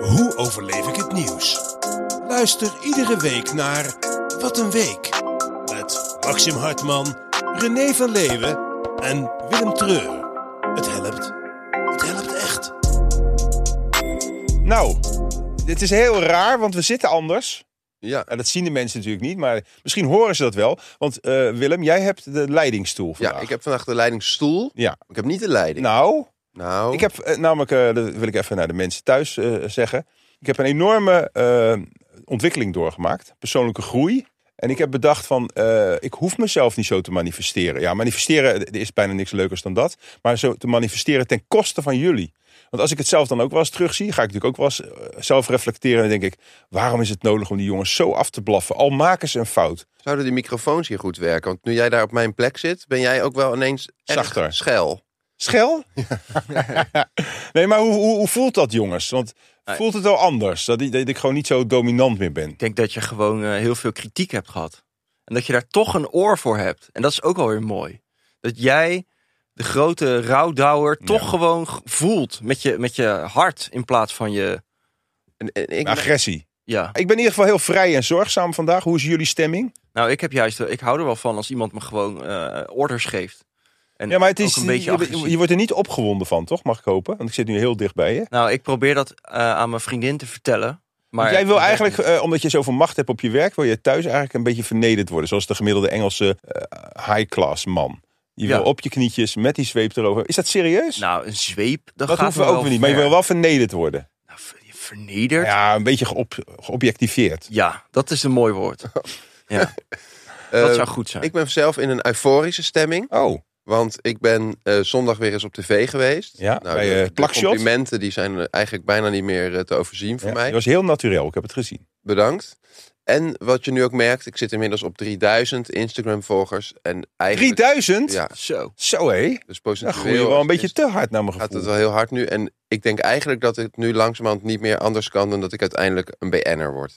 Hoe overleef ik het nieuws? Luister iedere week naar Wat een Week. Met Maxim Hartman, René van Leeuwen en Willem Treur. Het helpt. Het helpt echt. Nou, dit is heel raar, want we zitten anders. Ja, En dat zien de mensen natuurlijk niet, maar misschien horen ze dat wel. Want eh, Willem, jij hebt de leidingstoel vandaag. ja ik heb vandaag de leidingstoel. Ja. Ik heb niet de leiding. Nou, Nou, ik heb eh, namelijk, eh, dat wil ik even naar de mensen thuis eh, zeggen. Ik heb een enorme eh, ontwikkeling doorgemaakt, persoonlijke groei. En ik heb bedacht van, eh, ik hoef mezelf niet zo te manifesteren. Ja, manifesteren er is bijna niks leukers dan dat. Maar zo te manifesteren ten koste van jullie. Want als ik het zelf dan ook wel eens terugzie, ga ik natuurlijk ook wel eens eh, zelf reflecteren. En denk ik, waarom is het nodig om die jongens zo af te blaffen? Al maken ze een fout. zouden die microfoons hier goed werken? Want nu jij daar op mijn plek zit, ben jij ook wel ineens erg Zachter. schel. Schel? nee, maar hoe, hoe, hoe voelt dat, jongens? Want voelt het wel anders? Dat, ik- dat ik gewoon niet zo dominant meer ben. Ik denk dat je gewoon eh, heel veel kritiek hebt gehad. En dat je daar toch een oor voor hebt. En dat is ook wel weer mooi. Dat jij, de grote rouwdouwer, toch gewoon g- voelt met je, met je hart in plaats van je... En, en ik, Agressie. Ja. Ik ben in ieder geval heel vrij en zorgzaam vandaag. Hoe is jullie stemming? Nou, ik heb juist... Ik hou er wel van als iemand me gewoon eh, orders geeft. En Ja, maar het is, ook een beetje je, agressief. je wordt er niet opgewonden van, toch? Mag ik hopen? Want ik zit nu heel dicht bij je. Want Nou, ik probeer dat eh, aan mijn vriendin te vertellen. Maar jij dat wil werkt eigenlijk, niet. eh, omdat je zoveel macht hebt op je werk, wil je thuis eigenlijk een beetje vernederd worden. Zoals de gemiddelde Engelse eh, high-class man. Je Ja. wil op je knietjes met die zweep erover. Is dat serieus? Nou, een zweep, dat, dat gaat hoeven we ook weer niet. Maar je wil wel vernederd worden. Nou, vernederd? Ja. Ja, een beetje geop- geobjectiveerd. dat is een mooi woord. Ja, eh, dat zou goed zijn. ik ben zelf in een euforische stemming. Oh, Want ik ben eh, zondag weer eens op tv geweest. Nou, Ja, bij, eh, de- de, Plakshot. complimenten die zijn eh, eigenlijk bijna niet meer eh, te overzien voor ja, mij. dat was heel natuurlijk. Ik heb het gezien. Bedankt. En wat je nu ook merkt, ik zit inmiddels op 3000 Instagram-volgers. En eigenlijk... 3000? Ja, Zo. Zo hé. dus Dan procentueel groei je wel een beetje is- te hard naar mijn gaat gevoel. het wel heel hard nu. En ik denk eigenlijk dat het nu langzamerhand niet meer anders kan... dan dat ik uiteindelijk een BN'er word.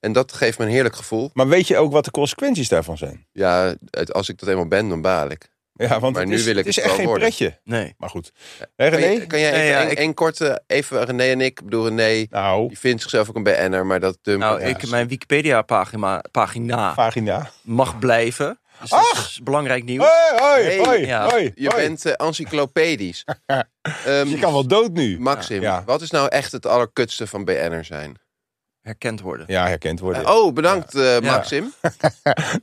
En dat geeft me een heerlijk gevoel. Maar weet je ook wat de consequenties daarvan zijn? Ja, het- als ik dat eenmaal ben, dan baal ik. Ja, want Maar het nu is, wil ik het is het echt geen wel worden. pretje. Nee. Maar goed. Hè, Kan, René? je- kan jij even Nee, ja, één- ik- één korte... Even René en ik. Ik bedoel, René Nou, die vindt zichzelf ook een BN'er, maar dat... dump Nou, ja. ik, mijn Wikipedia-pagina pagina vagina. mag blijven. Dus dat is belangrijk nieuws. Ah! Hoi, hoi, Hey, hoi, ja. hoi. Je hoi. bent eh, encyclopedisch. Ehm, Je kan wel dood nu. Maxim, Ja. wat is nou echt het allerkutste van BN'er zijn? Herkend worden. Ja, herkend worden. Oh, bedankt eh, Ja. Maxim.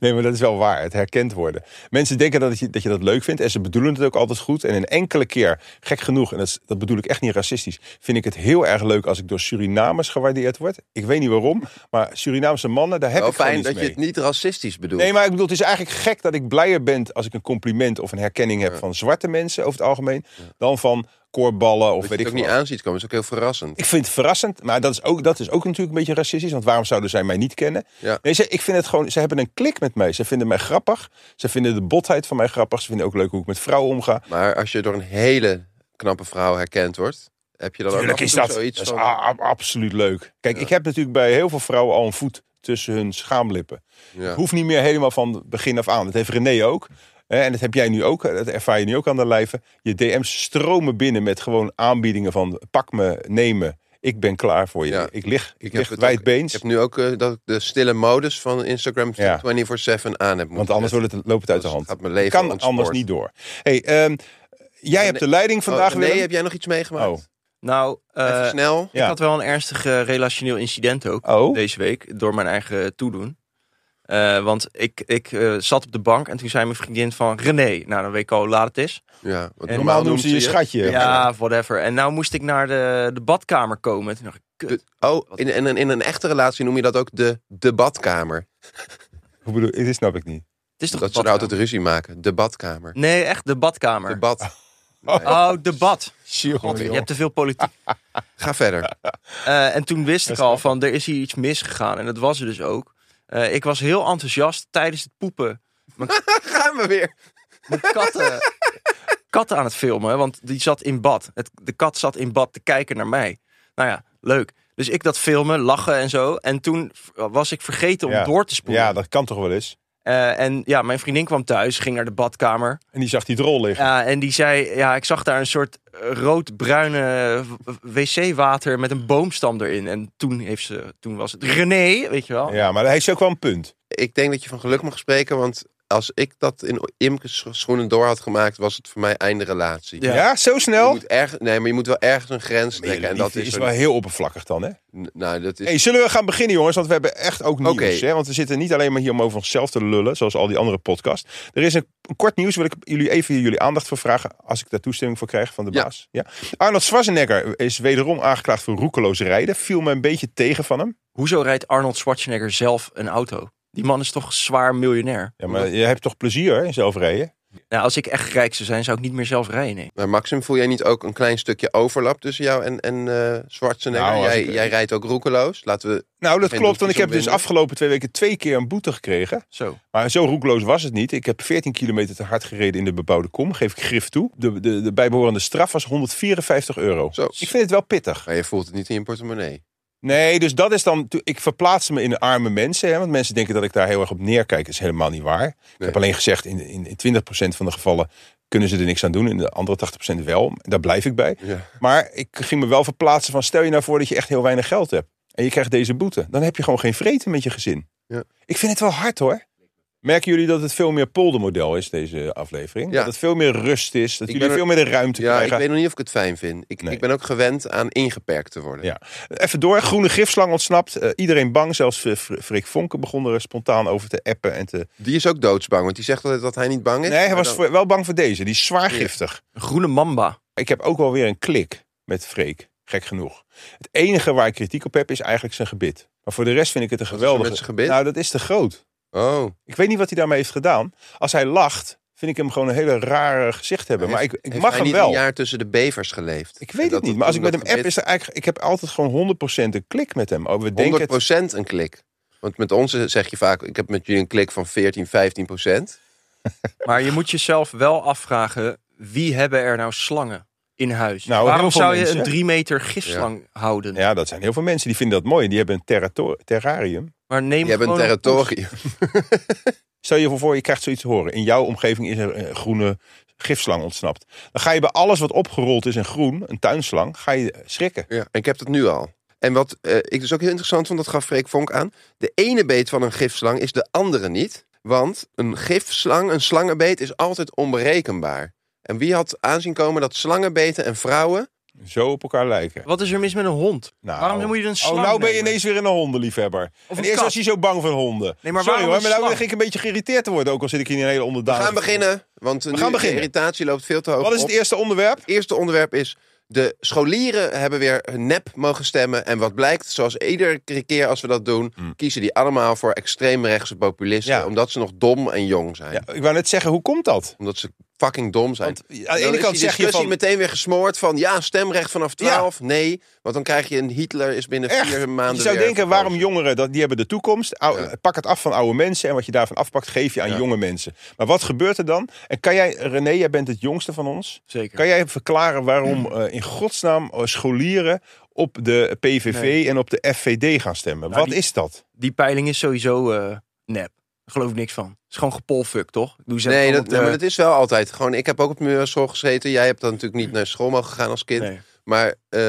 Nee, maar dat is wel waar. Het herkend worden. Mensen denken dat je dat, je dat leuk vindt en ze bedoelen het ook altijd goed. En een enkele keer, gek genoeg, en dat, is- dat bedoel ik echt niet racistisch, vind ik het heel erg leuk als ik door Surinamers gewaardeerd word. Ik weet niet waarom, maar Surinaamse mannen, daar heb Wel ik gewoon Oh, fijn iets dat mee. je het niet racistisch bedoelt. Nee, maar ik bedoel, het is eigenlijk gek dat ik blijer ben als ik een compliment of een herkenning heb van zwarte mensen over het algemeen, dan van koorballen of dat je weet het ik ook veel niet wat. aan ziet komen, is ook heel verrassend. Ik vind het verrassend, maar dat is, ook, dat is ook natuurlijk een beetje racistisch. Want waarom zouden zij mij niet kennen? Ja. Nee, ze, ik vind het gewoon, ze hebben een klik met mij. Ze vinden mij grappig. Ze vinden de botheid van mij grappig. Ze vinden ook leuk hoe ik met vrouwen omga. Maar als je door een hele knappe vrouw herkend wordt, heb je dan Tuurlijk ook af is en toe dat, zoiets dat is van... a- a- absoluut leuk. Kijk, ik heb natuurlijk bij heel veel vrouwen al een voet tussen hun schaamlippen. Ja. Ik hoef niet meer helemaal van begin af aan. Dat heeft René ook. Eh, En dat heb jij nu ook. Dat ervaar je nu ook aan de lijve. Je DM's stromen binnen met gewoon aanbiedingen van pak me, neem me. Ik ben klaar voor je. Ja. Ik lig, ik heb lig het wijdbeens. Ik heb nu ook eh, dat ik de stille modus van Instagram Ja. 24-7 aan heb Want moeten anders zetten. wordt het, loopt het uit de hand. Anders gaat mijn leven kan ontspoort. anders niet door. Hey, ehm, jij hebt de leiding Oh, vandaag, nee, Willem. heb jij nog iets meegemaakt? Oh. Nou, eh, Even snel. Ja. ik had wel een ernstig eh, relationeel incident ook Oh. deze week. Door mijn eigen toedoen. Eh, want ik, ik eh, zat op de bank en toen zei mijn vriendin van René. Nou, dan weet ik al hoe laat het is. Ja, want normaal, Normaal noemen ze je schatje. Ja, whatever. En nou moest ik naar de, de badkamer komen. Toen dacht ik, kut. De- oh, in, in, in een echte relatie noem je dat ook de, de badkamer. Hoe bedoel, dit snap ik niet. Het is toch Dat de ze daar badkamer? altijd ruzie maken. De badkamer. Nee, echt de badkamer. De bad. Oh, de bad. God, Je hebt te veel politiek. Ga verder. Eh, en toen wist ik al van, er is hier iets misgegaan. En dat was er dus ook. Eh, ik was heel enthousiast tijdens het poepen. Gaan we weer. Mijn katten, katten aan het filmen, want die zat in bad. Het, de kat zat in bad te kijken naar mij. Nou ja, leuk. Dus ik dat filmen, lachen en zo. En toen v- was ik vergeten om Ja. door te spoelen. Ja, dat kan toch wel eens. Eh, en ja, mijn vriendin kwam thuis, ging naar de badkamer. En die zag die drol liggen. Ja, en die zei, ja, ik zag daar een soort eh, rood-bruine w- wc-water met een boomstam erin. En toen, heeft ze, toen was het René, weet je wel. Ja, maar hij heeft ook wel een punt. Ik denk dat je van geluk mag spreken, want als ik dat in Imke's schoenen door had gemaakt, was het voor mij einde relatie. Ja, Ja. zo Je snel. moet erg, nee, maar je moet wel ergens een grens Maar je trekken. En dat liefde is, is er- wel heel oppervlakkig dan, hè? N- Nou, dat is. Dus- Hey, zullen we gaan beginnen, jongens? Want we hebben echt ook nieuws. Oké. Hè? Want we zitten niet alleen maar hier om over onszelf te lullen, zoals al die andere podcasts. Er is een, een kort nieuws, wil ik jullie even jullie aandacht voor vragen, als ik daar toestemming voor krijg van de Ja. baas. Ja? Arnold Schwarzenegger is wederom aangeklaagd voor roekeloos rijden. Viel me een beetje tegen van hem. Hoezo rijdt Arnold Schwarzenegger zelf een auto? Die man is toch zwaar miljonair. Ja, maar je hebt toch plezier hè, in zelf rijden? Nou, als ik echt rijk zou zijn, zou ik niet meer zelf rijden. nee. Maar Maxim, voel jij niet ook een klein stukje overlap tussen jou en, en eh Schwarzenegger? Nou, als jij, ik- jij rijdt ook roekeloos. Laten we. Nou, dat Geen klopt, want ik doeltjes heb dus omwinden. afgelopen twee weken twee keer een boete gekregen. Zo. Maar zo roekeloos was het niet. Ik heb 14 kilometer te hard gereden in de bebouwde kom. Geef ik grif toe. De, de, de bijbehorende straf was 154 euro. Zo. Ik vind het wel pittig. Maar je voelt het niet in je portemonnee. Nee, dus dat is dan. Ik verplaats me in de arme mensen. Hè, want mensen denken dat ik daar heel erg op neerkijk. Dat is helemaal niet waar. Ik Nee. heb alleen gezegd: in, in, in 20% van de gevallen kunnen ze er niks aan doen. In de andere 80% wel. Daar blijf ik bij. Ja. Maar ik ging me wel verplaatsen van stel je nou voor dat je echt heel weinig geld hebt. En je krijgt deze boete. Dan heb je gewoon geen vreten met je gezin. Ja. Ik vind het wel hard hoor. Merken jullie dat het veel meer poldermodel is, deze aflevering? Ja. Dat het veel meer rust is. Dat Ik jullie ben veel er- meer de ruimte Ja, ik krijgen. weet nog niet of ik het fijn vind. Ik, Nee. ik ben ook gewend aan ingeperkt te worden. Ja. Even door. Groene gifslang ontsnapt. Eh, iedereen bang. Zelfs eh, Fr- Frik Vonken begon er spontaan over te appen. En te... Die is ook doodsbang, want die zegt altijd dat hij niet bang is. Nee, hij Maar was dan- voor- wel bang voor deze. Die is zwaar giftig. Een groene mamba. Ik heb ook wel weer een klik met Freek. Gek genoeg. Het enige waar ik kritiek op heb is eigenlijk zijn gebit. Maar voor de rest vind ik het een Wat is er geweldige. met zijn gebit? Nou, dat is te groot. Oh, Ik weet niet wat hij daarmee heeft gedaan. Als hij lacht, vind ik hem gewoon een hele rare gezicht hebben. Maar ik, ik heeft mag hij hem niet wel. een jaar tussen de bevers geleefd? Ik weet het niet. Maar als ik met hem app, is er eigenlijk. Ik heb altijd gewoon 100% een klik met hem. Oh, we denken het- er 100% een klik. Want met ons zeg je vaak, ik heb met jullie een klik van 14, 15 procent. Maar je moet jezelf wel afvragen, wie hebben er nou slangen in huis? Nou, heel Waarom veel zou je mensen, een hè? drie meter gifslang houden? Ja, dat zijn heel veel mensen die vinden dat mooi. Die hebben een terrato- terrarium. Maar neem Je hebt een gewoon territorium. Stel je voor, je krijgt zoiets te horen. In jouw omgeving is er een groene gifslang ontsnapt. Dan ga je bij alles wat opgerold is in groen, een tuinslang, ga je schrikken. Ja, ik heb dat nu al. En wat eh, ik dus ook heel interessant vond, dat gaf Freek Vonk aan. De ene beet van een gifslang is de andere niet. Want een gifslang, een slangenbeet, is altijd onberekenbaar. En wie had aanzien komen dat slangenbeten en vrouwen... Zo op elkaar lijken. Wat is er mis met een hond? Nou. Waarom moet je een slang Oh, nou ben je nemen? ineens weer een hondenliefhebber. en Of een eerst kat. was hij zo bang van honden. Nee, maar Sorry waarom hoor, een maar nou slang? begin ik een beetje geïrriteerd te worden. Ook al zit ik hier in een hele We onderdaan. gaan beginnen, want nu gaan de beginnen. irritatie loopt veel te hoog Wat is op. het eerste onderwerp? Het eerste onderwerp is... De scholieren hebben weer hun nep mogen stemmen. En wat blijkt, zoals iedere keer als we dat doen... kiezen die allemaal voor extreemrechtse populisten... Mm. Ja. omdat ze nog dom en jong zijn. Ja, ik wou net zeggen, hoe komt dat? Omdat ze fucking dom zijn. Want aan de Dan ene is kant die zeg je discussie van... meteen weer gesmoord van ja, stemrecht vanaf 12. Nee, want dan krijg je een Hitler is binnen Echt? vier maanden Je zou weer denken, verkozen. waarom jongeren, dat, die hebben de toekomst. Ou- Ja. Pak het af van oude mensen en wat je daarvan afpakt, geef je aan Ja. jonge mensen. Maar wat gebeurt er dan? En kan jij, René, jij bent het jongste van ons. Zeker. Kan jij verklaren waarom eh, in godsnaam eh, scholieren op de PVV Nee. en op de FVD gaan stemmen? Nou, wat die- is dat? Die peiling is sowieso eh, nep. Daar geloof ik niks van. Het is gewoon gepolfuck, toch? Doe ze Nee, gewoon dat, op de- nee, eh, maar dat is wel altijd. Gewoon, ik heb ook op de middelbare school gezeten. Jij hebt dan natuurlijk niet naar school mogen gaan als kind. Nee. Maar eh,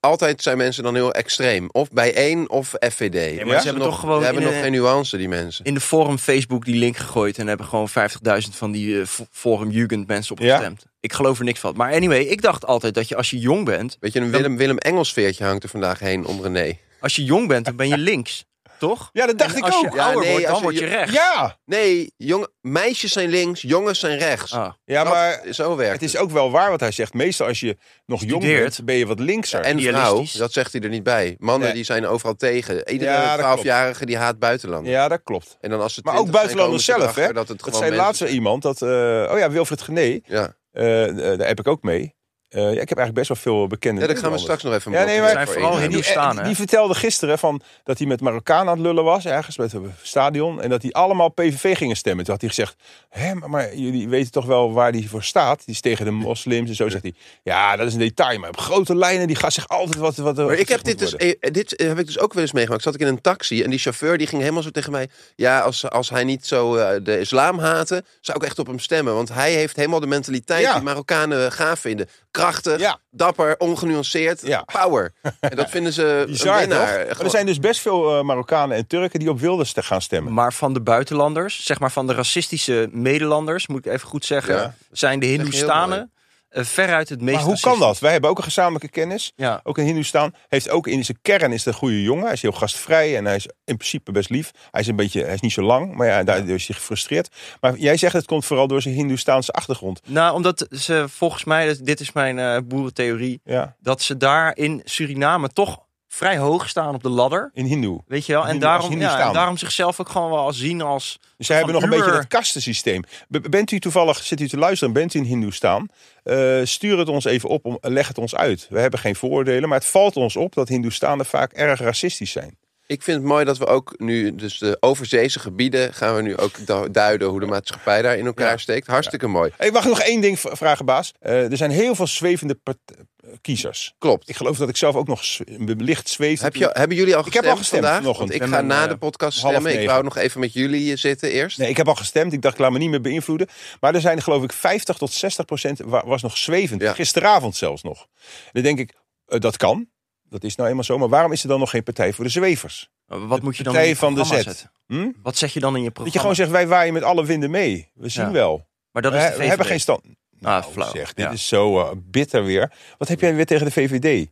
altijd zijn mensen dan heel extreem. Of bij één of FVD. ze Mensen hebben nog, toch gewoon ze hebben in nog een- geen nuance, die mensen. In de forum Facebook die link gegooid en hebben gewoon 50.000 van die eh, fo- forum Jugend mensen op Ja? gestemd. Ik geloof er niks van. Maar anyway, ik dacht altijd dat je als je jong bent, Weet je, een Willem, Willem Engels veertje hangt er vandaag heen om René. als je jong bent, dan ben je links, toch? Ja, dat dacht En ik als ook. je Ja, ouder nee, wordt, dan als je word je jo- rechts. Ja, Nee, jong, meisjes zijn links, jongens zijn rechts. Ah. ja Dat- maar zo werkt het is ook wel waar wat hij zegt. Meestal als je nog jong Studeert. bent, ben je wat linkser. En vrouw, Idealistisch. dat zegt hij er niet bij. Mannen Nee. die zijn overal tegen. Iedere Ja, dat 12-jarige die haat buitenlanders. ja, dat klopt. En dan als ze Maar ook 20 zijn, buitenlanders komen ze zelf, hè? erachter Dat het Dat gewoon zei mensen laatst zo zijn. iemand dat. eh, oh ja, Wilfried Gené. Ja. Eh, eh, daar heb ik ook mee. Eh, Eh, ja, ik heb eigenlijk best wel veel bekende Ja, daar gaan we straks nog even Ja, nee, blokken. maar- Zijn Ja, vooral heel- Die, nieuw staan, eh, hè? die vertelde gisteren van dat hij met Marokkaan aan het lullen was, ergens met een stadion. En dat die allemaal PVV gingen stemmen. Toen had hij gezegd, Hé, maar, maar jullie weten toch wel waar die voor staat? Die is tegen de moslims en zo, zegt hij. Ja, dat is een detail, maar op grote lijnen, die gaat zich altijd wat... wat Maar ik heb dit, dus, eh, dit eh, heb ik dus ook wel eens meegemaakt. Zat ik in een taxi en die chauffeur die ging helemaal zo tegen mij. Ja, als, als hij niet zo eh, de islam haatte, zou ik echt op hem stemmen. Want hij heeft helemaal de mentaliteit Ja. die Marokkanen gaaf vinden. Krachtig, Ja. dapper, ongenuanceerd, Ja. power. En dat vinden ze een Bizar, toch? winnaar. Maar Gewoon- er zijn dus best veel eh, Marokkanen en Turken die op Wilders te gaan stemmen. Maar van de buitenlanders, zeg maar van de racistische Nederlanders, moet ik even goed zeggen, Ja. zijn de Hindoestanen eh, veruit het meest Maar hoe kan racistisch. dat? Wij hebben ook een gezamenlijke kennis. Ja. Ook een Hindoestaan. Heeft ook in zijn kern is de goede jongen. Hij is heel gastvrij en hij is in principe best lief. Hij is een beetje, hij is niet zo lang, maar ja, daardoor is hij gefrustreerd. Maar jij zegt het komt vooral door zijn Hindoestaanse achtergrond. Nou, omdat ze volgens mij, dus dit is mijn eh, boerentheorie, Ja, dat ze daar in Suriname toch vrij hoog staan op de ladder. in Hindoe. Weet je wel? En Hindoe- als daarom, Hindoestaan. ja, en daarom zichzelf ook gewoon wel als zien als. Dus zij hebben nog van een beetje uur- dat kastensysteem. B- Bent u toevallig, zit u te luisteren, bent u in Hindoestaan? Eh, stuur het ons even op, om, leg het ons uit. We hebben geen vooroordelen, maar het valt ons op dat Hindoestanen vaak erg racistisch zijn. Ik vind het mooi dat we ook nu, dus de overzeese gebieden, gaan we nu ook du- duiden hoe de maatschappij daar in elkaar Ja. steekt. Hartstikke mooi. Ik mag nog één ding v- vragen, baas. Eh, er zijn heel veel zwevende part- eh, kiezers. Klopt. Ik geloof dat ik zelf ook nog z- licht zweef. Heb je, hebben jullie al Ik gestemd, heb al gestemd vandaag? vanochtend. Want ik Ik ga ben, na eh, de podcast half stemmen. Ik negen. wou nog even met jullie eh, zitten eerst. Nee, ik heb al gestemd. Ik dacht, ik laat me niet meer beïnvloeden. Maar er zijn geloof ik 50 tot 60 procent wa- was nog zwevend. Ja. Gisteravond zelfs nog. En dan denk ik, eh, dat kan. Dat is nou eenmaal zo. Maar waarom is er dan nog geen partij voor de zwevers? Eh, Wat moet je dan in Partij je van de programma Zet. zetten? Hm? Wat zeg je dan in je programma? Dat je gewoon zegt, wij waaien met alle winden mee. We zien Ja. wel. maar dat is we, de we hebben VVD. geen stand. Nou, Oh, flauw. zeg, dit Ja. is zo eh, bitter weer. Wat heb jij weer tegen de VVD?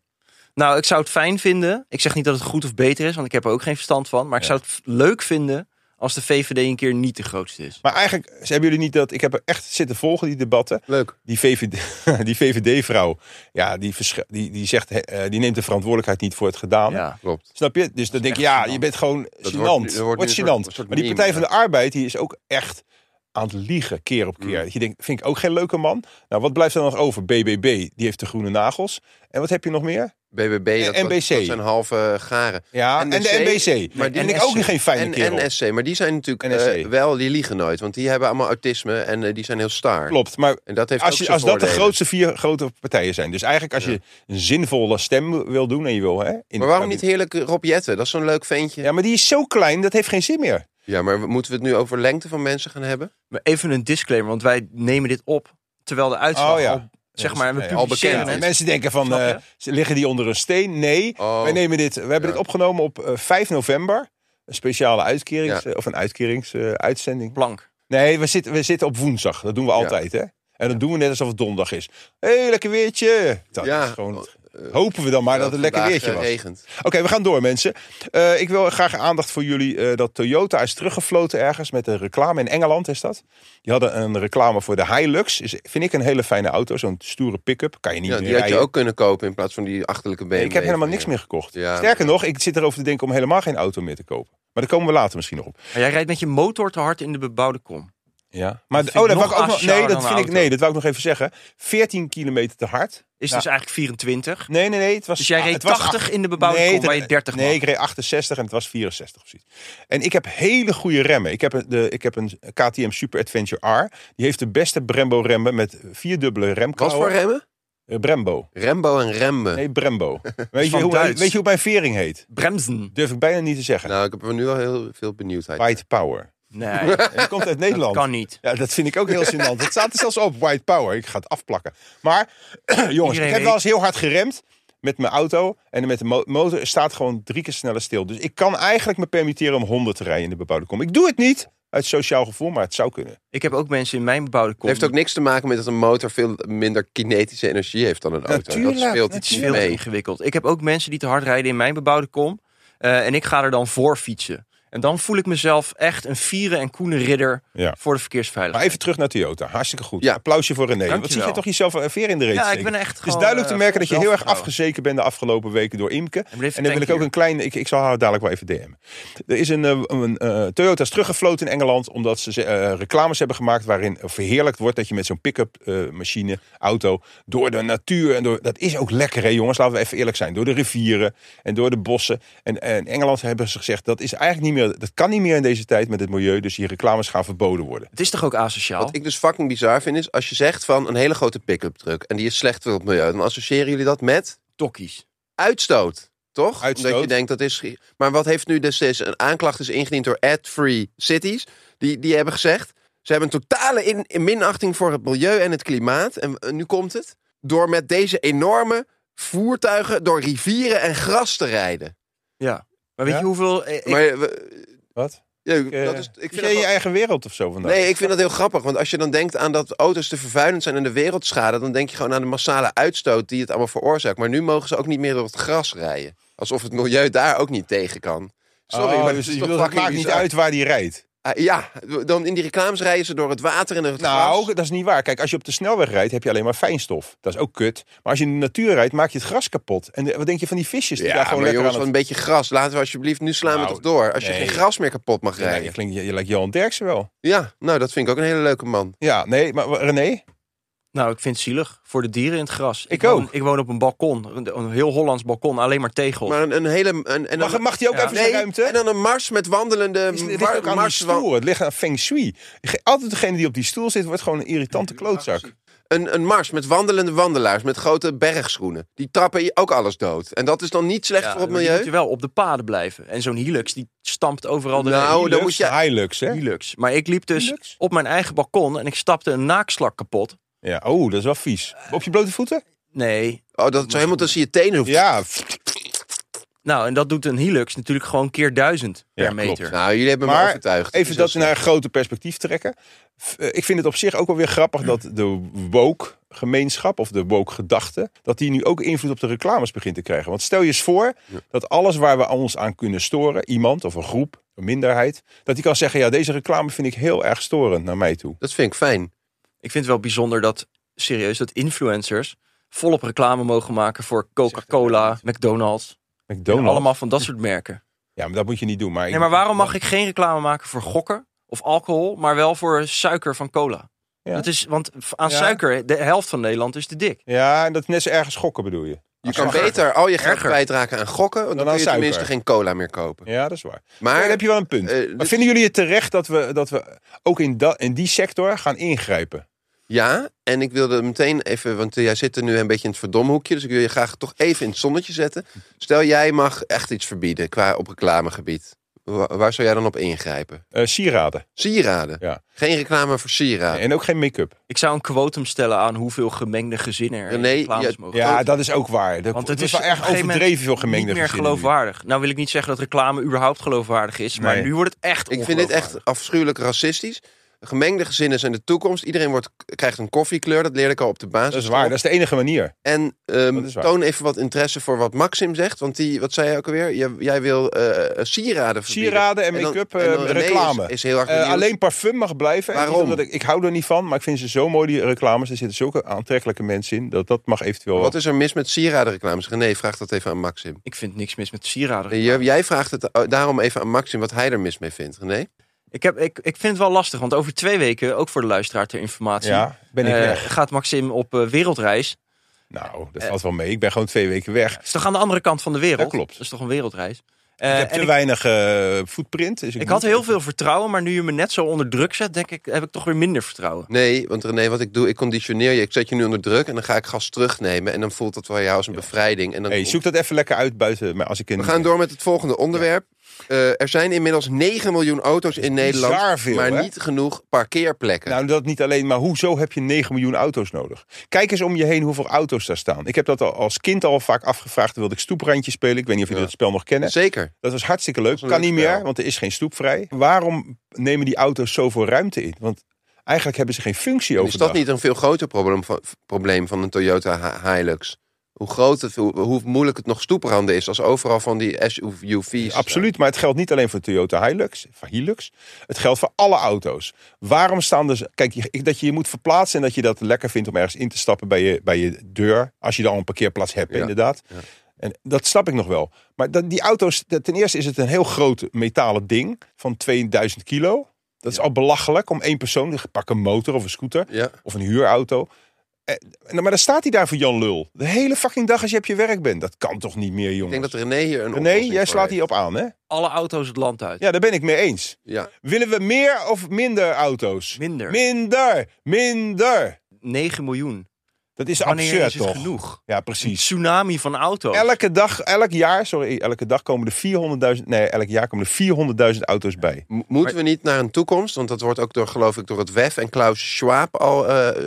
Nou, ik zou het fijn vinden. Ik zeg niet dat het goed of beter is, want ik heb er ook geen verstand van. Maar ik Ja. zou het f- leuk vinden als de VVD een keer niet de grootste is. Maar eigenlijk ze hebben jullie niet dat. Ik heb er echt zitten volgen die debatten. Leuk. die VVD, die VVD-vrouw, ja, die, versch- die, die, zegt, eh, die neemt de verantwoordelijkheid niet voor het gedaan. Ja. Klopt. Snap je? Dus dan denk je, echt ja, gênant. je bent gewoon gênant. wordt nu- dat wordt Wordt, nu een soort- gênant. een soort maar die meme, Partij van ja. de Arbeid, die is ook echt aan het liegen, keer op Mm. keer. Dat je denkt, vind ik ook geen leuke man. Nou, wat blijft er dan nog over? BBB, die heeft de groene nagels. En wat heb je nog meer? BBB, dat, En was- NBC. dat zijn halve garen. Ja, en de NBC. maar Maar die- die vind ik ook NSC. geen fijne kerel. En, en SC, maar die zijn natuurlijk eh, NSC. wel, die liegen nooit. Want die hebben allemaal autisme en eh, die zijn heel star. Klopt, maar En dat heeft als, ook je, zijn als dat de voordelen. grootste vier grote partijen zijn. Dus eigenlijk als je een zinvolle stem wil doen en je wil... Hè, in het Maar waarom kabinet- niet heerlijk Rob Jetten? Dat is zo'n leuk ventje. Ja. Ja, maar die is zo klein, dat heeft geen zin meer. maar moeten we het nu over lengte van mensen gaan hebben? Maar even een disclaimer, want wij nemen dit op terwijl de uitslag Oh ja. al, zeg Ja, maar, dus- we nee, al publiceren bekend het. is. Mensen denken van, Snap je? eh, ze liggen die onder een steen? Nee, Oh. wij nemen dit. We hebben Ja. dit opgenomen op eh, 5 november. Een speciale uitkerings- of een uitkeringsuitzending. Plank. nee, we zitten, we zitten op woensdag. Dat doen we altijd, hè? En dan doen we net alsof het donderdag is. Hé, hey, lekker weertje. Dat Ja. Oh, eh. is gewoon, hopen we dan maar dat het lekker vandaag, weertje eh, was. regent. Oké, we gaan door, mensen. Eh, ik wil graag aandacht voor jullie eh, dat Toyota is teruggefloten ergens met een reclame in Engeland, is dat? Die hadden een reclame voor de Hilux. Is, vind ik een hele fijne auto, zo'n stoere pick-up. Kan je niet Ja, meer die had je rijden. ook kunnen kopen in plaats van die achterlijke BMW. Nee, ik heb helemaal van je. niks meer gekocht. Ja. Sterker nog, ik zit erover te denken om helemaal geen auto meer te kopen. Maar daar komen we later misschien nog op. Maar jij rijdt met je motor te hard in de bebouwde kom. Ja. Maar vind oh, ik dat nog wou ik ook nog. asocialer Nee, dat dan vind een ik. auto. Nee, dat wou ik nog even zeggen. 14 kilometer te hard. Is Ja. dus eigenlijk 24. Nee, nee, nee. Het was, Dus jij ah, reed het was 80 in de bebouwde kom, het- waar je 30 Nee, mag. ik reed 68 en het was 64 of zoiets. En ik heb hele goede remmen. Ik heb, een- de, ik heb een KTM Super Adventure R. Die heeft de beste Brembo remmen met vierdubbele Wat remkouwen. voor remmen? Eh, Brembo. Rembo en Rembe. Nee, Brembo. weet, je van hoe, Duits. weet je hoe mijn vering heet? Bremsen. Durf ik bijna niet te zeggen. Nou, ik heb er nu al heel veel benieuwdheid. White Power. Nee, En die komt uit dat Nederland. kan niet. Ja, dat vind ik ook heel gênant. Het staat er zelfs op, white power. Ik ga het afplakken. Maar, jongens, ik heb weet- wel eens heel hard geremd met mijn auto. En met de mo- motor staat gewoon drie keer sneller stil. Dus ik kan eigenlijk me permitteren om 100 te rijden in de bebouwde kom. Ik doe het niet uit sociaal gevoel, maar het zou kunnen. Ik heb ook mensen in mijn bebouwde kom. Het heeft ook niks te maken met dat een motor veel minder kinetische energie heeft dan een auto. Natuurlijk, dat speelt Het iets is niet veel te mee. ingewikkeld. Ik heb ook mensen die te hard rijden in mijn bebouwde kom. eh, en ik ga er dan voor fietsen. En dan voel ik mezelf echt een vieren en koene ridder Ja. voor de Maar verkeersveiligheid. even terug naar Toyota. Hartstikke goed. Ja. Applausje voor René. Wat zie Dankjewel. je toch jezelf een veer in de reet Ja, ik steken? ben echt Het is gewoon, duidelijk te eh, merken dat je heel erg zelfvertrouwen. afgezeken bent de afgelopen weken door Imke. En blijf En dan wil ik ook tanken. een klein... Ik, ik zal haar dadelijk wel even DM'en. Er is een, eh, een eh, Toyota is teruggefloten in Engeland... omdat ze ze, eh, reclames hebben gemaakt waarin verheerlijkt wordt... dat je met zo'n pick-up eh, machine, auto... door de natuur en door... Dat is ook lekker hè jongens, laten we even eerlijk zijn. Door de rivieren en door de bossen. En, en Engeland hebben ze gezegd... dat is eigenlijk niet meer... dat kan niet meer in deze tijd met het milieu... dus die reclames gaan verboden worden. Het is toch ook asociaal? Wat ik dus fucking bizar vind is, als je zegt van een hele grote pick-up truck en die is slecht voor het milieu, dan associëren jullie dat met Tokkies. uitstoot. Toch? Uitstoot. Omdat je denkt dat is. Maar wat heeft nu destijds een aanklacht is ingediend door ad-free cities? Die, die hebben gezegd. Ze hebben een totale in, in minachting voor het milieu en het klimaat. En eh, nu komt het. Door met deze enorme voertuigen door rivieren en gras te rijden. Ja. Maar weet Ja? je hoeveel... eh, ik- maar eh, we- Wat? ja, Eh, dat is, ik zit vind jij in dat je wel- eigen wereld of zo vandaag? Nee, ik vind dat heel grappig. Want als je dan denkt aan dat auto's te vervuilend zijn en de wereldschade... dan denk je gewoon aan de massale uitstoot die het allemaal veroorzaakt. Maar nu mogen ze ook niet meer door het gras rijden. Alsof het milieu daar ook niet tegen kan. Sorry, Oh, maar dus dat is je toch wil- het fucking maakt niet bizar. uit waar die rijdt. Ah, ja, dan in die reclames rijden ze door het water en door het Nou, gras. dat is niet waar. Kijk, als je op de snelweg rijdt, heb je alleen maar fijnstof. Dat is ook kut. Maar als je in de natuur rijdt, maak je het gras kapot. En de- wat denk je van die visjes die daar Ja, gewoon maar lekker jongens, aan van het... een beetje gras. Laten we alsjeblieft, nu slaan we Nou, toch door. Als je nee. geen gras meer kapot mag Ja, nee, je, rijden. klinkt, je, je lijkt Johan Derksen wel. Ja, nou, dat vind ik ook een hele leuke man. Ja, nee, maar René? Nou, ik vind het zielig. Voor de dieren in het gras. Ik woon, ook. Ik woon op een balkon. Een, een heel Hollands balkon. Alleen maar tegels. Maar een, een hele... Een, en dan, Mag, mag die ook ja. even Nou, nee, zijn ruimte? en dan een mars met wandelende... Het is- het ligt ook aan die mars- wa- stoel. Het ligt aan feng shui. Ge- Altijd degene die op die stoel zit, wordt gewoon een irritante Oh, klootzak. een, een mars met wandelende wandelaars, met grote bergschoenen. Die trappen je ook alles dood. En dat is dan niet slecht Ja, voor het maar die milieu. moeten wel op de paden blijven. En zo'n Hilux, die stampt overal de Nou, regen. dan moet je- Hilux, hè? Hilux. Maar ik liep dus Hilux? op mijn eigen balkon en ik stapte een naakslak kapot. Ja, oh, dat is wel vies. Op je blote voeten? Nee. Oh, dat is helemaal tussen je tenen hoeft. Ja, Nou, en dat doet een Hilux natuurlijk gewoon keer duizend Ja, per klopt. meter. Nou, jullie hebben me Maar overtuigd. Even Dus dat nou- naar een groter perspectief trekken. F- eh, Ik vind het op zich ook wel weer grappig dat de woke gemeenschap of de woke gedachte, dat die nu ook invloed op de reclames begint te krijgen. Want stel je eens voor dat alles waar we ons aan kunnen storen, iemand of een groep, een minderheid, dat die kan zeggen, ja deze reclame vind ik heel erg storend naar mij toe. Dat vind ik fijn. Ik vind het wel bijzonder dat, serieus, dat influencers volop reclame mogen maken voor Coca-Cola, McDonald's. McDonald's. Allemaal van dat soort merken. Ja, maar dat moet je niet doen. Maar, ik- Nee, maar waarom mag ik geen reclame maken voor gokken of alcohol, maar wel voor suiker van cola? Ja. Dat is, want v- aan Ja. suiker, de helft van Nederland is te dik. Ja, en dat is net zo erg schokken bedoel je. Je kan Erger. beter al je geld Erger. kwijtraken aan gokken. Want dan, Dan aan kun je suiker. tenminste geen cola meer kopen. Ja, dat is waar. Maar Maar dan heb je wel een punt. eh, maar dit- vinden jullie het terecht dat we, dat we ook in, dat in die sector gaan ingrijpen? ja, en ik wilde meteen even... Want eh, jij zit er nu een beetje in het verdomhoekje. Dus ik wil je graag toch even in het zonnetje zetten. Stel, jij mag echt iets verbieden qua op reclamegebied. Wa- waar zou jij dan op ingrijpen? Eh, sieraden. Sieraden. Ja. Geen reclame voor sieraden. En ook geen make-up. Ik zou een quotum stellen aan hoeveel gemengde gezinnen er in René, reclames ja, mogen. Ja, Groot. dat is ook waar. Dat, het Want het is is wel op een erg gegeven moment overdreven veel gemengde niet meer gezinnen nu. geloofwaardig. Nou wil ik niet zeggen dat reclame überhaupt geloofwaardig is, maar Nee. nu wordt het echt Ik vind dit echt ongeloofwaardig. afschuwelijk racistisch. Gemengde gezinnen zijn de toekomst. Iedereen wordt, krijgt een koffiekleur. Dat leerde ik al op de basis. Dat is waar, dat is de enige manier. En ehm, Dat is waar. toon even wat interesse voor wat Maxim zegt. Want die, wat zei jij ook alweer? Jij, jij wil eh, eh, sieraden verbieden. Sieraden en dan- make-up, en dan eh, René is- reclame. Is, heel erg Eh, benieuwd. alleen parfum mag blijven. En niet Waarom? omdat ik, ik hou er niet van, maar ik vind ze zo mooi, die reclames. Er zitten zulke aantrekkelijke mensen in, dat dat mag eventueel... Wat is er mis met sieradenreclames? René, vraag dat even aan Maxim. Ik vind niks mis met sieraden. Nee, jij- Jij vraagt het eh, daarom even aan Maxim wat hij er mis mee vindt. René? Ik, heb, ik, ik vind het wel lastig, want over twee weken, ook voor de luisteraar ter informatie, Ja, ben ik eh, weg. gaat Maxim op eh, wereldreis. Nou, eh, dat valt wel mee. Ik ben gewoon twee weken weg. Het is toch aan de andere kant van de wereld? Dat klopt. Dat is toch een wereldreis? Ik Eh, heb en te ik, weinig eh, footprint. Dus ik, ik moet- had heel veel vertrouwen, maar nu je me net zo onder druk zet, denk ik, heb ik toch weer minder vertrouwen. Nee, want René, wat ik doe, ik conditioneer je. Ik zet je nu onder druk en dan ga ik gas terugnemen. En dan voelt dat voor jou als een bevrijding. En dan Hey, zoek dat even lekker uit buiten. Maar als ik in We gaan door met het volgende onderwerp. Eh, er zijn inmiddels 9 miljoen auto's in Nederland, veel, maar hè? niet genoeg parkeerplekken. Nou, dat niet alleen, maar hoezo heb je 9 miljoen auto's nodig? Kijk eens om je heen hoeveel auto's daar staan. Ik heb dat al als kind al vaak afgevraagd. Toen wilde ik stoeprandje spelen. Ik weet niet of jullie Ja. dat spel nog kennen. Zeker. Dat was hartstikke leuk. Dat was een kan leuk niet spel. meer, want er is geen stoep vrij. Waarom nemen die auto's zoveel ruimte in? Want eigenlijk hebben ze geen functie Is overdag. dat niet een veel groter probleem van, probleem van een Toyota Hi- Hilux? hoe groot het, hoe, hoe moeilijk het nog stoepranden is als overal van die SUV's. staan. Absoluut, maar het geldt niet alleen voor Toyota Hilux, voor Hilux. Het geldt voor alle auto's. Waarom staan er... Kijk, je- dat je je moet verplaatsen en dat je dat lekker vindt om ergens in te stappen bij je, bij je deur. Als je dan een parkeerplaats hebt, Ja, inderdaad. ja. En dat snap ik nog wel. Maar dat, die auto's, dat- ten eerste is het een heel groot metalen ding van 2000 kilo. Dat is al belachelijk om één persoon, pak een motor of een scooter Ja. of een huurauto. Eh, en dan- maar dan staat hij daar voor Jan Lul. De hele fucking dag als je op je werk bent. Dat kan toch niet meer, Ik jongens? denk dat René hier een Nee, oplossing jij voor slaat heeft. hierop aan, hè? Alle auto's het land uit. Ja, daar ben ik mee eens. Ja. Willen we meer of minder auto's? Minder. Minder, minder. 9 miljoen. Dat is Wanneer absurd, is het toch? genoeg? Ja, Een precies. tsunami van auto's. Elke dag, elk jaar, sorry, elke dag komen er 400.000, nee, elk jaar komen er 400.000 auto's bij. Mo- Moeten we niet naar een toekomst? Want dat wordt ook door, geloof ik, door het WEF en Klaus Schwab al eh, eh,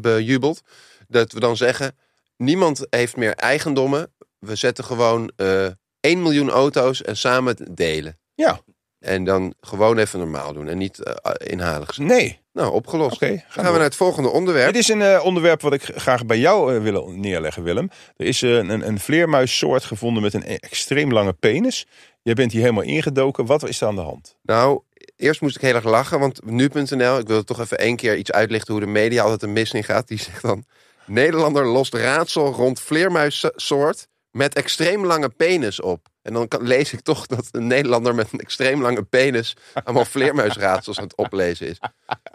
bejubeld. Dat we dan zeggen, niemand heeft meer eigendommen. We zetten gewoon eh 1 miljoen auto's en samen het delen. Ja, En dan gewoon even normaal doen en niet eh, inhalig zijn. nee. Nou, opgelost. Oké, gaan gaan door. we naar het volgende onderwerp. Dit is een eh, onderwerp wat ik graag bij jou eh, wil neerleggen, Willem. Er is eh, een, een vleermuissoort gevonden met een e- extreem lange penis. Jij bent hier helemaal ingedoken. Wat is er aan de hand? Nou, eerst moest ik heel erg lachen, want nu.nl, ik wil toch even één keer iets uitlichten hoe de media altijd een mis in gaat. Die zegt dan: Nederlander lost raadsel rond vleermuissoort met extreem lange penis op. En dan kan, lees ik toch dat een Nederlander met een extreem lange penis allemaal vleermuisraadsels aan het oplezen is.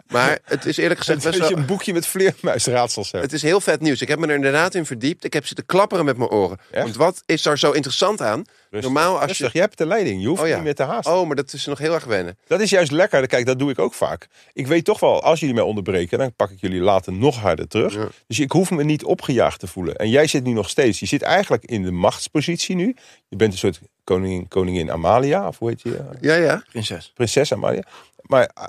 Maar het is eerlijk gezegd Dat best je wel. een boekje met vleermuisraadsels hebt. Het is heel vet nieuws. Ik heb me er inderdaad in verdiept. Ik heb zitten klapperen met mijn oren. Echt? Want wat is daar zo interessant aan? Rustig, normaal als je- rustig. Jij hebt de leiding. Je hoeft Oh ja. niet meer te haasten. Oh, maar dat is nog heel erg wennen. Dat is juist lekker. Kijk, dat doe ik ook vaak. Ik weet toch wel, als jullie mij onderbreken, dan pak ik jullie later nog harder terug. Ja. Dus ik hoef me niet opgejaagd te voelen. En jij zit nu nog steeds. Je zit eigenlijk in de machtspositie nu. Je bent een soort koningin, koningin Amalia, of hoe heet je? Ja, ja. Prinses. Prinses Amalia. Maar ah,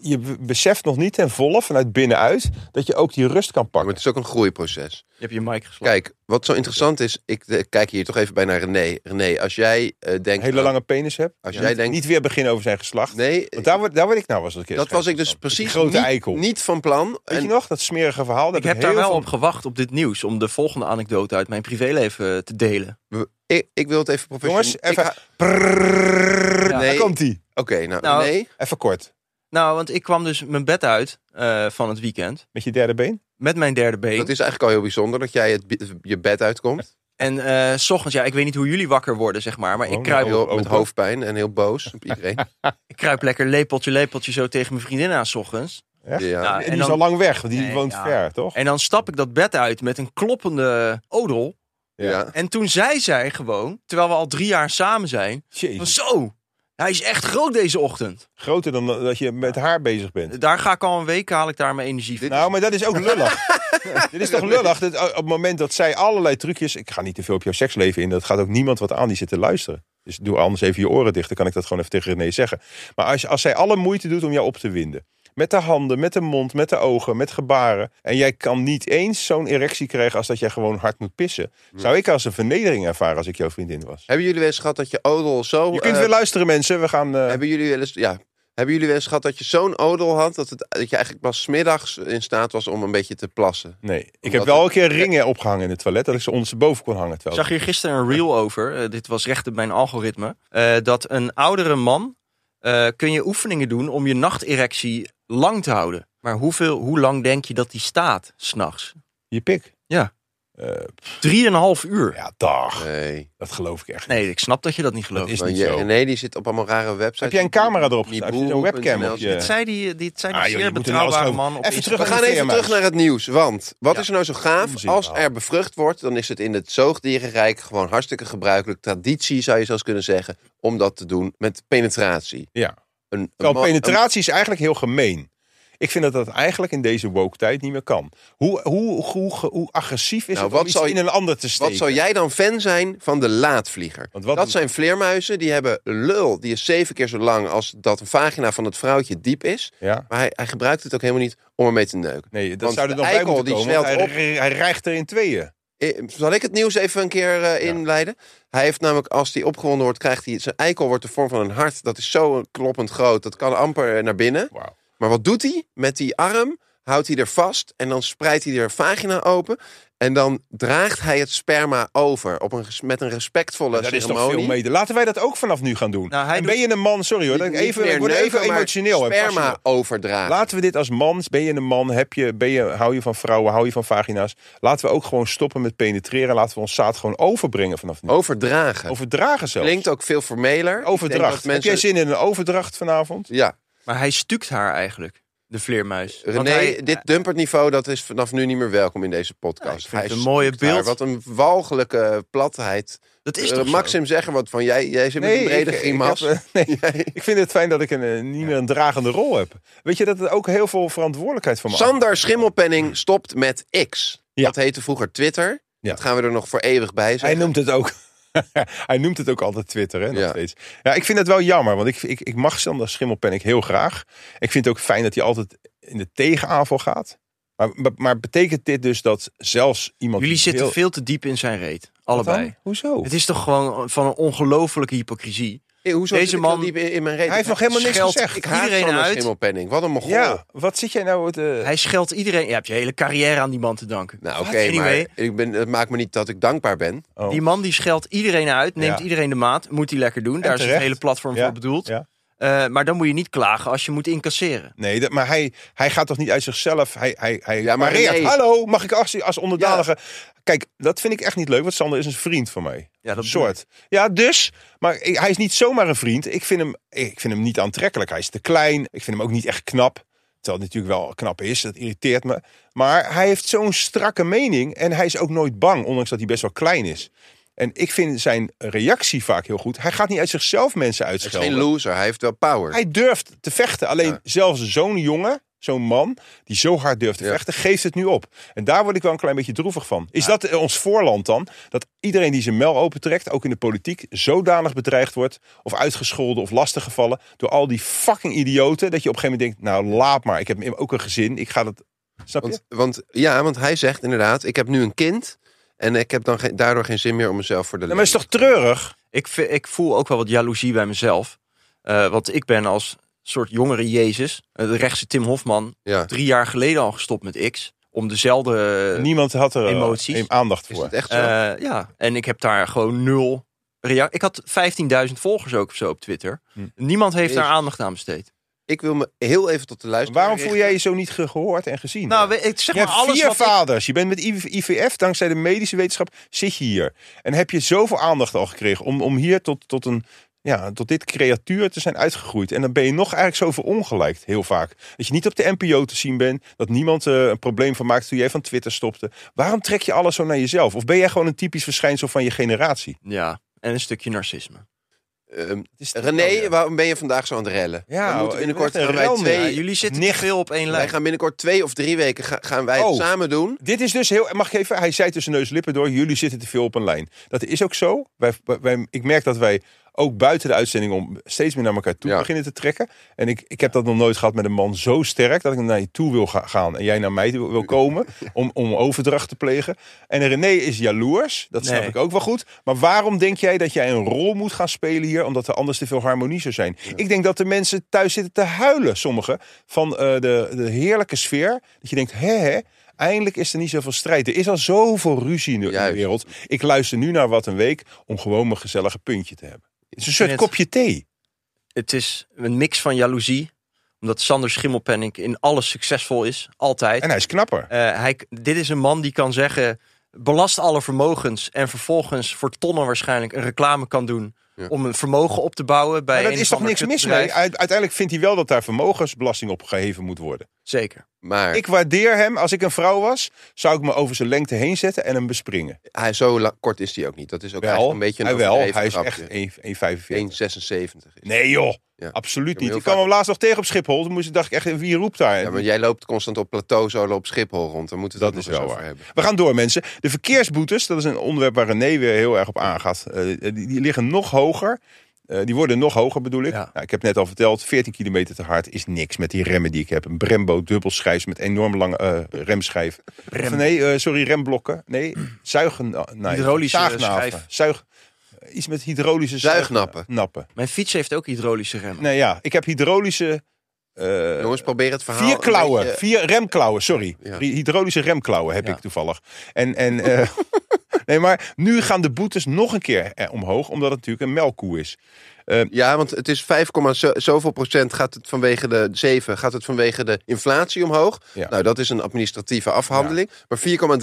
je b- beseft nog niet ten volle vanuit binnenuit dat je ook die rust kan Maar pakken. het is ook een groeiproces. Je hebt je mic geslagen. Kijk, wat zo interessant is, ik eh, kijk hier toch even bij naar René. René, als jij eh, Een denkt... hele lange penis hebt. Als Ja. jij Niet- denkt- Niet weer beginnen over zijn geslacht. Nee, Want daar word, daar word ik nou was een keer dat was ik dus precies grote niet, eikel. niet van plan. Weet En je nog, dat smerige verhaal? Ik heb daar wel op gewacht op dit nieuws. Om de volgende anekdote uit mijn privéleven te delen. we- ik, ik wil het even professioneel... nou- Jongens, ik even. ga- Prrrr. Ja. Daar Nee, oké, komt hij. nou, Nou, René, Even kort. Nou, want ik kwam dus mijn bed uit eh, van het weekend. Met je derde been. Met mijn derde been. dat is eigenlijk al heel bijzonder dat jij het, bi- je bed uitkomt. En eh, s ochtends, ja, ik weet niet hoe jullie wakker worden, zeg maar. Maar Oh, ik kruip, nou. Heel, open. met hoofdpijn en heel boos op iedereen. ik kruip lekker lepeltje, lepeltje zo tegen mijn vriendin aan s ochtends. Echt? Ja, ja. en en die is dan- al lang weg, want die Nee, woont ja. ver, toch? En dan stap ik dat bed uit met een kloppende odel. ja. En toen zei zij gewoon, terwijl we al drie jaar samen zijn. Van, Jezus. zo, hij is echt groot deze ochtend. Groter dan dat je met haar bezig bent. Daar ga ik al een week, haal ik daar mijn energie van. Nou, maar dat is ook lullig. Dit is toch lullig? Dat eh, op het moment dat zij allerlei trucjes... Ik ga niet te veel op jouw seksleven in. Dat gaat ook niemand wat aan die zit te luisteren. Dus doe anders even je oren dicht. Dan kan ik dat gewoon even tegen René zeggen. Maar als, als zij alle moeite doet om jou op te winden... Met de handen, met de mond, met de ogen, met gebaren. En jij kan niet eens zo'n erectie krijgen als dat jij gewoon hard moet pissen. Zou ik als een vernedering ervaren als ik jouw vriendin was. Hebben jullie wel eens gehad dat je odel zo... Je kunt eh, weer luisteren mensen. We gaan... eh, hebben jullie wel eens... Ja, hebben jullie wel eens gehad dat je zo'n odel had... Dat, het, dat je eigenlijk pas 's middags in staat was om een beetje te plassen? Nee, ik heb Omdat wel het- een keer ringen opgehangen in het toilet. Dat ik ze ondersteboven kon hangen. Ik Terwijl... zag hier gisteren een reel over. eh, dit was recht op mijn algoritme. eh, dat een oudere man. eh, kun je oefeningen doen om je nachterectie lang te houden. Maar hoeveel, hoe lang denk je dat die staat s'nachts? Je pik. Ja. Eh, Drieënhalf uur. ja, dag. Nee. Dat geloof ik echt. niet. Nee, ik snap dat je dat niet gelooft. Dat is eh, Dit niet Maar je- zo. René die zit op allemaal rare websites. Heb jij een camera erop Die gezet? Heb je zo'n boel.nl webcam op je- zit. zei die, dit zei die Ah, joh, je zeer moet er nou eens betrouwbare over- man. Op Even Instagram. We terug. gaan even terug naar het nieuws, want wat Ja. is er nou zo gaaf? Onzin, Als nou. er bevrucht wordt, dan is het in het zoogdierenrijk gewoon hartstikke gebruikelijk. Traditie zou je zelfs kunnen zeggen, om dat te doen met penetratie. Ja. Een, een Terwijl man- penetratie is eigenlijk heel gemeen. Ik vind dat dat eigenlijk in deze woke tijd niet meer kan. Hoe, hoe, hoe, hoe, agressief is Nou, het wat om iets zou je- in een ander te een- steken? wat zou jij dan fan zijn van de laadvlieger? Want wat dat een- zijn vleermuizen, die hebben een lul, die is zeven keer zo lang als dat een vagina van het vrouwtje diep is. Ja? Maar hij, hij gebruikt het ook helemaal niet om ermee te neuken. Nee, dat Want zou er de nog bij eikel, moeten die komen. want zwelt Hij, hij rijgt er in tweeën. Eh, Zal ik het nieuws even een keer eh, inleiden? Hij heeft namelijk, als hij opgewonden wordt, krijgt hij... Zijn eikel wordt de vorm van een hart. Dat is zo kloppend groot. Dat kan amper eh, naar binnen. Wauw. Maar wat doet hij? Met die arm houdt hij er vast en dan spreidt hij er vagina open. En dan draagt hij het sperma over op een, res- met een respectvolle dat is toch ceremonie. veel mede. Laten wij dat ook vanaf nu gaan doen. Nou, hij en doet- ben je een man, sorry hoor, dat ik Niet even, meer ik word neuken, even maar emotioneel. en Sperma passioneel. overdragen. Laten we dit als man, ben je een man, heb je, ben je, hou je van vrouwen, hou je van vagina's. Laten we ook gewoon stoppen met penetreren. Laten we ons zaad gewoon overbrengen vanaf nu. Overdragen. Overdragen zelfs. Oh, Klinkt ook veel formeler. Ik denk Overdracht. dat mensen- Heb jij zin in een overdracht vanavond? Ja, Maar hij stukt haar eigenlijk, de vleermuis. Want René, hij- dit dumpertniveau dat is vanaf nu niet meer welkom in deze Ja, ik podcast. vind het een is mooie daar. beeld. Wat een walgelijke platheid. dat is Eh, toch Maxim, zeg er wat van. Jij, jij zit met een brede ik- ik grimas. heb, eh, nee, ik vind het fijn dat ik een, eh, niet meer een dragende rol heb. Weet je dat het ook heel veel verantwoordelijkheid van me af- Sander Schimmelpenning stopt met X. Ja. Dat heette vroeger Twitter. Ja. Dat gaan we er nog voor eeuwig bij Hij zijn. noemt het ook. Hij noemt het ook altijd Twitter, hè, nog Ja. steeds. Ja, ik vind het wel jammer, want ik, ik, ik mag Sander Schimmelpenninck heel graag. Ik vind het ook fijn dat hij altijd in de tegenaanval gaat. Maar, maar, maar betekent dit dus dat zelfs iemand... Jullie die zitten heel- veel te diep in zijn reet. Wat dan? Allebei. Hoezo? Het is toch gewoon van een ongelofelijke hypocrisie. Eh, hoezo Deze zit ik man- zo diep in, in mijn reet? Hij heeft nog helemaal niks Scheld- gezegd. Ik haat iedereen Sander uit. Schimmelpenning. Wat een mogol. Ja, wat zit jij nou... eh, Hij scheldt iedereen. Je hebt je hele carrière aan die man te danken. Nou, Wat? oké, Anyway, maar ik ben, het maakt me niet dat ik dankbaar ben. oh. Die man die scheldt iedereen uit, neemt Ja. iedereen de maat. Moet hij lekker doen. Daar is het terecht. hele platform Ja, voor bedoeld. ja. Eh, maar dan moet je niet klagen als je moet incasseren. Nee, dat, maar hij, hij gaat toch niet uit zichzelf. Hij, hij, hij Ja, maar pareert. nee. Hallo, mag ik als, als onderdanige. Kijk, dat vind ik echt niet leuk, want Sander is een vriend van mij. Ja, dat soort. Ja, dus. Maar ik- hij is niet zomaar een vriend. Ik vind, hem, ik vind hem niet aantrekkelijk. Hij is te klein. Ik vind hem ook niet echt knap. Terwijl het natuurlijk wel knap is. Dat irriteert me. Maar hij heeft zo'n strakke mening. En hij is ook nooit bang, ondanks dat hij best wel klein is. En ik vind zijn reactie vaak heel goed. Hij gaat niet uit zichzelf mensen Hij is geen uitschelden. loser. Hij heeft wel power. Hij durft te vechten. Alleen Ja. zelfs zo'n jongen, zo'n man, die zo hard durft te Ja. vechten, geeft het nu op. En daar word ik wel een klein beetje droevig van. Is dat eh, ons voorland dan? Dat iedereen die zijn mel opentrekt, ook in de politiek, zodanig bedreigd wordt, of uitgescholden of lastiggevallen, door al die fucking idioten, dat je op een gegeven moment denkt, nou laat maar, ik heb ook een gezin, ik ga dat... Snap je? Want, want, ja, want hij zegt inderdaad, ik heb nu een kind. En ik heb dan geen- daardoor geen zin meer om mezelf voor de Nee, maar het is toch treurig? Ik, ve- ik voel ook wel wat jaloezie bij mezelf. Eh, want ik ben als soort jongere Jezus, eh, de rechtse Tim Hofman, Ja. drie jaar geleden al gestopt met X. Om dezelfde... Niemand had er eh, emoties. een aandacht Is voor. dat echt zo? Eh, ja, en ik heb daar gewoon nul reactie. Ik had 15.000 volgers ook of zo op Twitter. Hm. Niemand heeft daar Jezus. aandacht aan besteed. ik wil me heel even tot de luisteraar Waarom voel richten. jij je zo niet ge- gehoord en gezien? Nou, we- ik zeg Je maar hebt alles vier wat ik- vaders. Je bent met IV IVF, dankzij de medische wetenschap, zit je hier. En heb je zoveel aandacht al gekregen om, om hier tot, tot, een, ja, tot dit creatuur te zijn uitgegroeid. En dan ben je nog eigenlijk zo verongelijkt, heel vaak. Dat je niet op de NPO te zien bent. Dat niemand eh, een probleem van maakt toen jij van Twitter stopte. Waarom trek je alles zo naar jezelf? Of ben jij gewoon een typisch verschijnsel van je generatie? Ja, en een stukje narcisme. Ehm, is René, Oh waarom ben je vandaag zo aan het rellen? Oh, Ja, oh, we moeten ik binnenkort ben echt gaan een wij relman. twee. Ja, jullie zitten nicht. te veel op één wij lijn. gaan binnenkort twee of drie weken ga- gaan wij het Oh. samen doen. Dit is dus heel. Mag ik even? Hij zei tussen neus en lippen door: jullie zitten te veel op een lijn. Dat is ook zo. Wij, wij, ik merk dat wij ook buiten de uitzending om steeds meer naar elkaar toe Ja. beginnen te trekken. En ik, ik heb dat nog nooit gehad met een man zo sterk dat ik naar je toe wil ga- gaan en jij naar mij wil, wil komen om, om overdracht te plegen. En René is jaloers, dat snap Nee. ik ook wel goed. Maar waarom denk jij dat jij een rol moet gaan spelen hier, omdat er anders te veel harmonie zou zijn? Ik denk dat de mensen thuis zitten te huilen, sommigen, van eh, de, de heerlijke sfeer. Dat je denkt, hè, hè, eindelijk is er niet zoveel strijd. Er is al zoveel ruzie in de, in de Juist. wereld. Ik luister nu naar Wat een Week om gewoon mijn gezellige puntje te hebben. Het is een soort Net. kopje thee. Het is een mix van jaloezie. Omdat Sander Schimmelpenninck in alles succesvol is. Altijd. En hij is knapper. Eh, hij, dit is een man die kan zeggen: belast alle vermogens. En vervolgens voor tonnen waarschijnlijk een reclame kan doen. Ja. Om een vermogen op te bouwen bij. Maar dat een is of toch ander niks mis mee? kutbedrijf. Uite- Uiteindelijk vindt hij wel dat daar vermogensbelasting op geheven moet worden. Zeker. Maar Ik waardeer hem. Als ik een vrouw was, zou ik me over zijn lengte heen zetten en hem bespringen. hij, zo la- kort is hij ook niet. Dat is ook Wel, eigenlijk een beetje een hij wel. overdreven Hij is echt grapje. 1,45. 1,76. is. Nee joh, Ja. absoluut Ja, niet. heel Ik kwam vaak- hem laatst nog tegen op Schiphol. Toen moest ik, dacht ik echt, wie roept daar? Ja, maar jij loopt constant op plateauzolen op Schiphol rond. Dan moeten we Dat dat is nog eens wel over waar. hebben. We gaan door, mensen. De verkeersboetes, dat is een onderwerp waar René weer heel erg op aangaat. Eh, die, die liggen nog hoger. Eh, die worden nog hoger, bedoel ik. Ja. Nou, ik heb net al verteld, 14 kilometer te hard is niks met die remmen die ik heb. Een Brembo dubbelschijf met enorm lange eh, remschijf. Of nee, eh, sorry, remblokken. Nee, zuigen. Nee, Hydraulische zaagnaven. schijf. Zuig, iets met hydraulische zuig- Zuignappen. Nappen. Mijn fiets heeft ook hydraulische remmen. Nee, ja, ik heb hydraulische eh, Jongens, probeer het verhaal. Vier klauwen, een beetje- vier remklauwen, sorry. Ja. Hy- Hydraulische remklauwen heb Ja. ik toevallig. En, en eh, nee, maar nu gaan de boetes nog een keer eh, omhoog, omdat het natuurlijk een melkkoe is. Ja, want het is 5, zo- zoveel procent gaat het vanwege de 7, gaat het vanwege de inflatie omhoog. Ja. Nou, dat is een administratieve afhandeling. Maar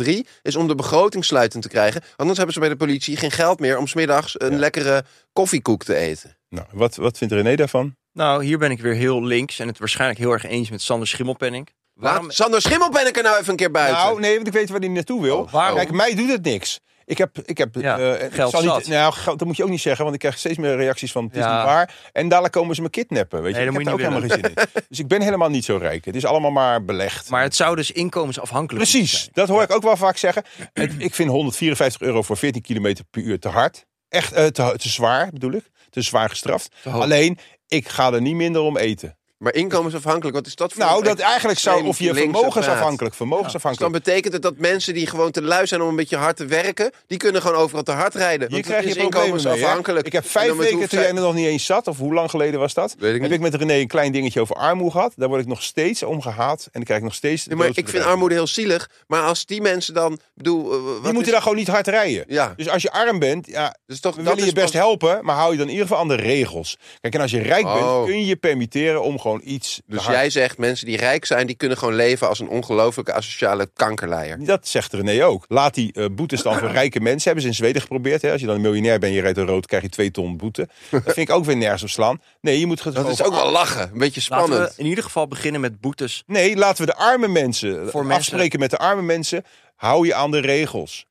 4,3 is om de begroting sluitend te krijgen. Anders hebben ze bij de politie geen geld meer om smiddags een Ja. lekkere koffiekoek te eten. Nou, wat, wat vindt René daarvan? Nou, hier ben ik weer heel links en het waarschijnlijk heel erg eens met Sander Schimmelpenning. Waarom, Laat Sander Schimmel ben ik er nou even een keer buiten. eh, Nou, nee, want ik weet waar hij naartoe wil. Oh, waarom? Kijk, mij doet het niks. Ik heb, ik heb Ja, eh, ik geld zal zat. niet, nou, geld- dat moet je ook niet zeggen, want ik krijg steeds meer reacties van het is Ja. niet waar. En dadelijk komen ze me kidnappen. Weet je, Nee, ik dat heb daar ook moet je helemaal geen zin in. Dus ik ben helemaal niet zo rijk. Het is allemaal maar belegd. maar het zou dus inkomensafhankelijk moeten Precies, zijn. dat hoor ik ook wel vaak zeggen. Het- ik vind 154 euro voor 14 kilometer per uur te hard. Echt eh, te, te zwaar, bedoel ik. Te zwaar gestraft. Te hoog. Alleen, ik ga er niet minder om eten. Maar inkomensafhankelijk, wat is dat voor Nou, een- dat eigenlijk zou, of je Linkse vermogensafhankelijk, Dus dan vermogensafhankelijk. betekent het dat mensen die gewoon te lui zijn om een beetje hard te werken, die kunnen gewoon overal te hard rijden. Hier Want krijg het je is problemen mee, hè? inkomensafhankelijk. Ik heb En vijf dan met weken, hoeveel- toen jij er nog niet eens zat, of hoe lang geleden was dat? Weet ik Heb niet. ik met René een klein dingetje over armoe gehad. Daar word ik nog steeds om gehaat. En dan krijg ik nog steeds... Nee, maar ik vind doodsbedreigingen. armoede heel zielig. Maar als die mensen dan. Bedoel, eh, wat Die moeten is- daar gewoon niet hard rijden. Ja, Dus als je arm bent, ja, dus toch. We willen je is best pas- helpen, maar hou je dan in ieder geval aan de regels. Kijk, en als je rijk Oh. bent, kun je je permitteren om gewoon iets te Dus hard- jij zegt mensen die rijk zijn, die kunnen gewoon leven als een ongelofelijke asociale kankerleier. Dat zegt René ook. Laat die eh, boetes dan voor rijke mensen. Hebben ze in Zweden geprobeerd. Hè? Als je dan een miljonair bent, je rijdt een rood, krijg je twee ton boete. Dat vind ik ook weer nergens op slaan. Nee, je moet het Dat gewoon is ook wel lachen. Een beetje Laten spannend. we in ieder geval beginnen met boetes. Nee, laten we de arme mensen eh, Voor mensen. afspreken met de arme mensen. Hou je aan de regels.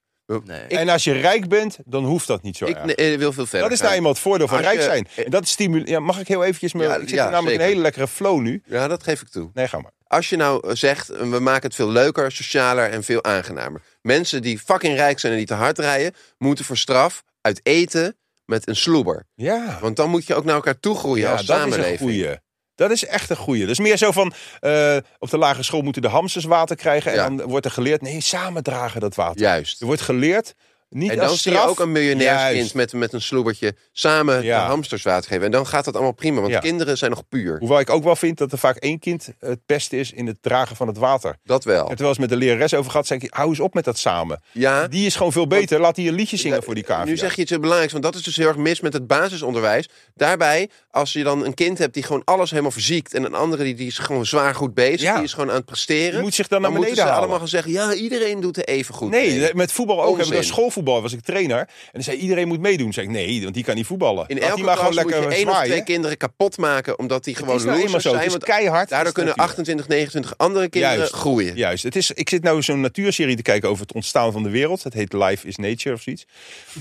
Nee. En als je rijk bent, dan hoeft dat niet zo Ik erg. nee, eh, wil veel verder. Dat is nou gaan. eenmaal het voordeel van Als rijk je- zijn. En dat stimuleert. Ja, mag ik heel eventjes... Mijn, Ja, ik zit ja, hier namelijk zeker. een hele lekkere flow nu. Ja, dat geef ik toe. Nee, ga maar. Als je nou eh, zegt, eh, we maken het veel leuker, socialer en veel aangenamer. Mensen die fucking rijk zijn en die te hard rijden, moeten voor straf uit eten met een sloeber. Ja. Want dan moet je ook naar elkaar toe groeien als dat is een samenleving. goeie. Dat is echt een goeie. Dat is meer zo van, eh, op de lagere school moeten de hamsters water krijgen. En Ja. dan wordt er geleerd, nee, samen dragen dat water. Juist. Er wordt geleerd, niet En dan als zie je straf. ook een miljonairskind Juist. met, met een sloebertje samen Ja. de hamsters water geven. En dan gaat dat allemaal prima, want Ja. kinderen zijn nog puur. Hoewel ik ook wel vind dat er vaak één kind het beste is in het dragen van het water. Ik Dat wel. heb het wel eens met de lerares over gehad. Zei ik, hou eens op met dat samen. Ja, Die is gewoon veel beter. Laat die een liedje zingen voor die cavia. nu zeg je iets heel belangrijks, want dat is dus heel erg mis met het basisonderwijs. Daarbij, als je dan een kind hebt die gewoon alles helemaal verziekt... en een andere die, die is gewoon zwaar goed bezig, Ja. die is gewoon aan het presteren... Die moet zich dan naar moeten beneden ze halen. allemaal gaan zeggen, ja, iedereen doet er even goed Nee, mee. met voetbal ook. Onzin. Heb ik- Schoolvoetbal was ik trainer. En dan zei iedereen moet meedoen. Zei ik, nee, want die kan niet voetballen. In Laat elke die maar klas gewoon moet lekker je één of zwaaien. twee kinderen kapot maken... omdat die Het gewoon is nou eenmaal losers zo. Het zijn. is want keihard. daardoor Het is kunnen natuurlijk. 28, 29 andere kinderen Juist. groeien. Juist, het is, ik zit nou zo'n natuurserie te kijken over het ontstaan van de wereld. Het heet Life is Nature of zoiets.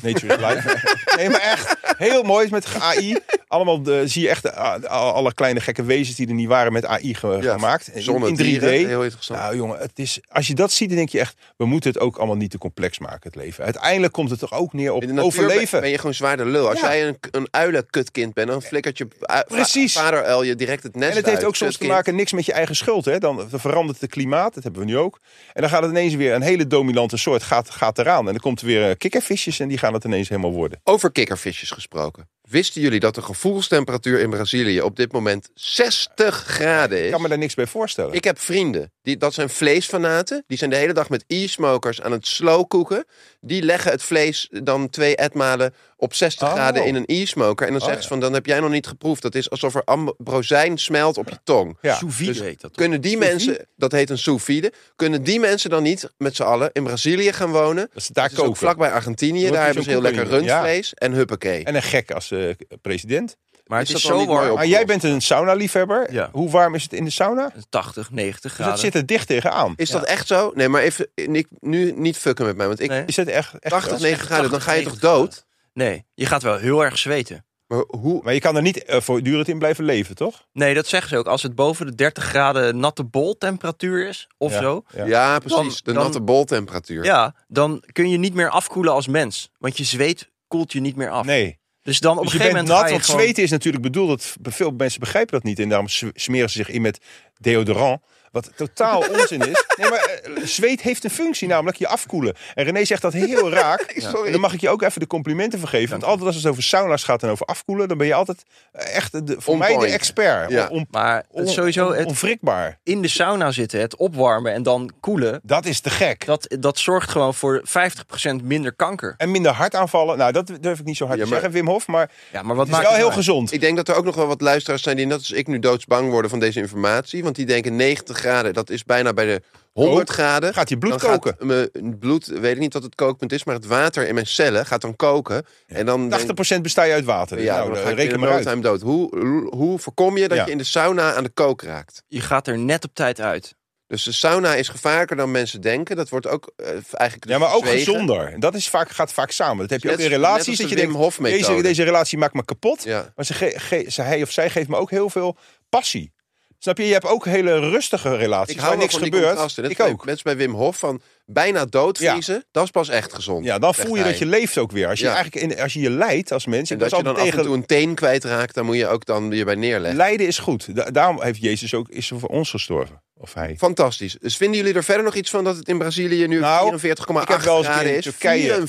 Nature is Life. nee, maar echt heel mooi met AI. Allemaal de, zie je echt eh, al- alle kleine gekke wezens die er niet waren met AI ge- Ja, gemaakt. In- Zonder in 3D. dieren, heel interessant. Nou jongen, het is, als je dat ziet, dan denk je echt, we moeten het ook allemaal niet te complex maken, het leven. Uiteindelijk komt het toch ook neer op In de natuur overleven. ben je gewoon zwaarder lul. Als Ja. jij een, een uilenkutkind bent, dan flikkert je ui- va- Precies. vaderuil je direct het nest En het heeft uit. ook soms te Kutkind. maken niks met je eigen schuld. Hè? Dan verandert het klimaat, dat hebben we nu ook. En dan gaat het ineens weer een hele dominante soort gaat, gaat eraan. En dan komt er weer eh, kikkervisjes en die gaan het ineens helemaal worden. Over kikkervisjes gesproken. Wisten jullie dat de gevoelstemperatuur in Brazilië op dit moment 60 graden Ik is? kan me daar niks bij voorstellen. Ik heb vrienden, die, dat zijn vleesfanaten. Die zijn de hele dag met e-smokers aan het slowkoeken. Die leggen het vlees dan twee etmalen op 60 Oh. graden in een e-smoker. En dan zeggen ze van, dan heb jij nog niet geproefd. Dat is alsof er ambrozijn smelt op je tong. ja. Sous vide heet dat. toch? Kunnen die mensen, dat heet een sous vide, kunnen die mensen dan niet met z'n allen in Brazilië gaan wonen? Dat ze daar Dat is ook koken. vlakbij Argentinië, Wordt daar dus hebben ze zo'n heel lekker koekeling, ja. rundvlees en huppakee. En een gek als eh, president. Maar het Is is, dat dan zo niet mooi warm. op- Maar jij bent een sauna-liefhebber. Ja. Hoe warm is het in de sauna? 80, 90 Dus graden. dat zit er dicht tegenaan. Is dat echt zo? Nee, maar even, ik, nu niet fucken met mij, want ik Nee. Is het echt... echt 80, wel? 90 graden, dan ga je toch 80, 90 dood? Nee, je gaat wel heel erg zweten. Maar hoe? Maar je kan er niet eh, voortdurend in blijven leven, toch? Nee, dat zeggen ze ook. Als het boven de 30 graden natte bol temperatuur is, of Ja. zo. Ja. Ja, precies, de dan- natte boltemperatuur. Ja, dan kun je niet meer afkoelen als mens. Want je zweet koelt je niet meer af. Nee. Dus dan op Dus een je gegeven bent nat, moment ga je want gewoon... zweten is natuurlijk bedoeld. Dat veel mensen begrijpen dat niet. En daarom s- smeren ze zich in met deodorant. Wat totaal onzin is. Nee, maar eh, zweet heeft een functie, namelijk je afkoelen. En René zegt dat heel raak. En dan mag ik je ook even de complimenten vergeven. Want altijd als het over sauna's gaat en over afkoelen, dan ben je altijd eh, echt de, voor On mij point. de expert. Ja. On- Maar het on- sowieso het onwrikbaar. in de sauna zitten, het opwarmen en dan koelen. Dat is te gek. Dat, dat zorgt gewoon voor 50% minder kanker. En minder hartaanvallen. Nou, dat durf ik niet zo hard Ja, te maar- zeggen, Wim Hof. Maar Ja, maar wat het is maakt wel het heel uit? gezond. Ik denk dat er ook nog wel wat luisteraars zijn die net als ik nu doodsbang worden van deze informatie. Want die denken 90 graden, dat is bijna bij de 100 Kook. graden. Gaat je bloed dan gaat koken? mijn bloed, weet ik niet wat het kookpunt is, maar het water in mijn cellen gaat dan koken. En dan denk- 80% besta je uit water. ja, nou, dan eh, ga ik reken in maar no uit. time dood. Hoe, hoe- hoe voorkom je dat Ja. je in de sauna aan de kook raakt? Je gaat er net op tijd uit. Dus de sauna is gevaarlijker dan mensen denken. Dat wordt ook eh, eigenlijk Ja, maar ook verzwegen. gezonder. En Dat is vaak, gaat vaak samen. Dat heb je Net- ook in net als relaties. de Dat je Wim denkt, Hof-methode. deze, deze relatie maakt me kapot. Ja. Maar ze ge- ge- ze, hij of zij geeft me ook heel veel passie. Snap je? Je hebt ook hele rustige relaties Ik waar hou niks gebeurt. Ik ook. Mensen bij Wim Hof van bijna doodvriezen, dat is pas echt gezond. Ja, dan zegt voel je hij. dat je leeft ook weer. Als je, Ja. eigenlijk in, als je je leidt als mens. En Ik dat was je dan altijd af en tegen toe een teen kwijtraakt, dan moet je ook dan weer bij neerleggen. Lijden is goed. Da- daarom heeft Jezus ook is voor ons gestorven. Of hij. Fantastisch. Dus vinden jullie er verder nog iets van dat het in Brazilië nu Nou, 44,8 ik heb wel eens een keer graden in is? 44,8 Turkije-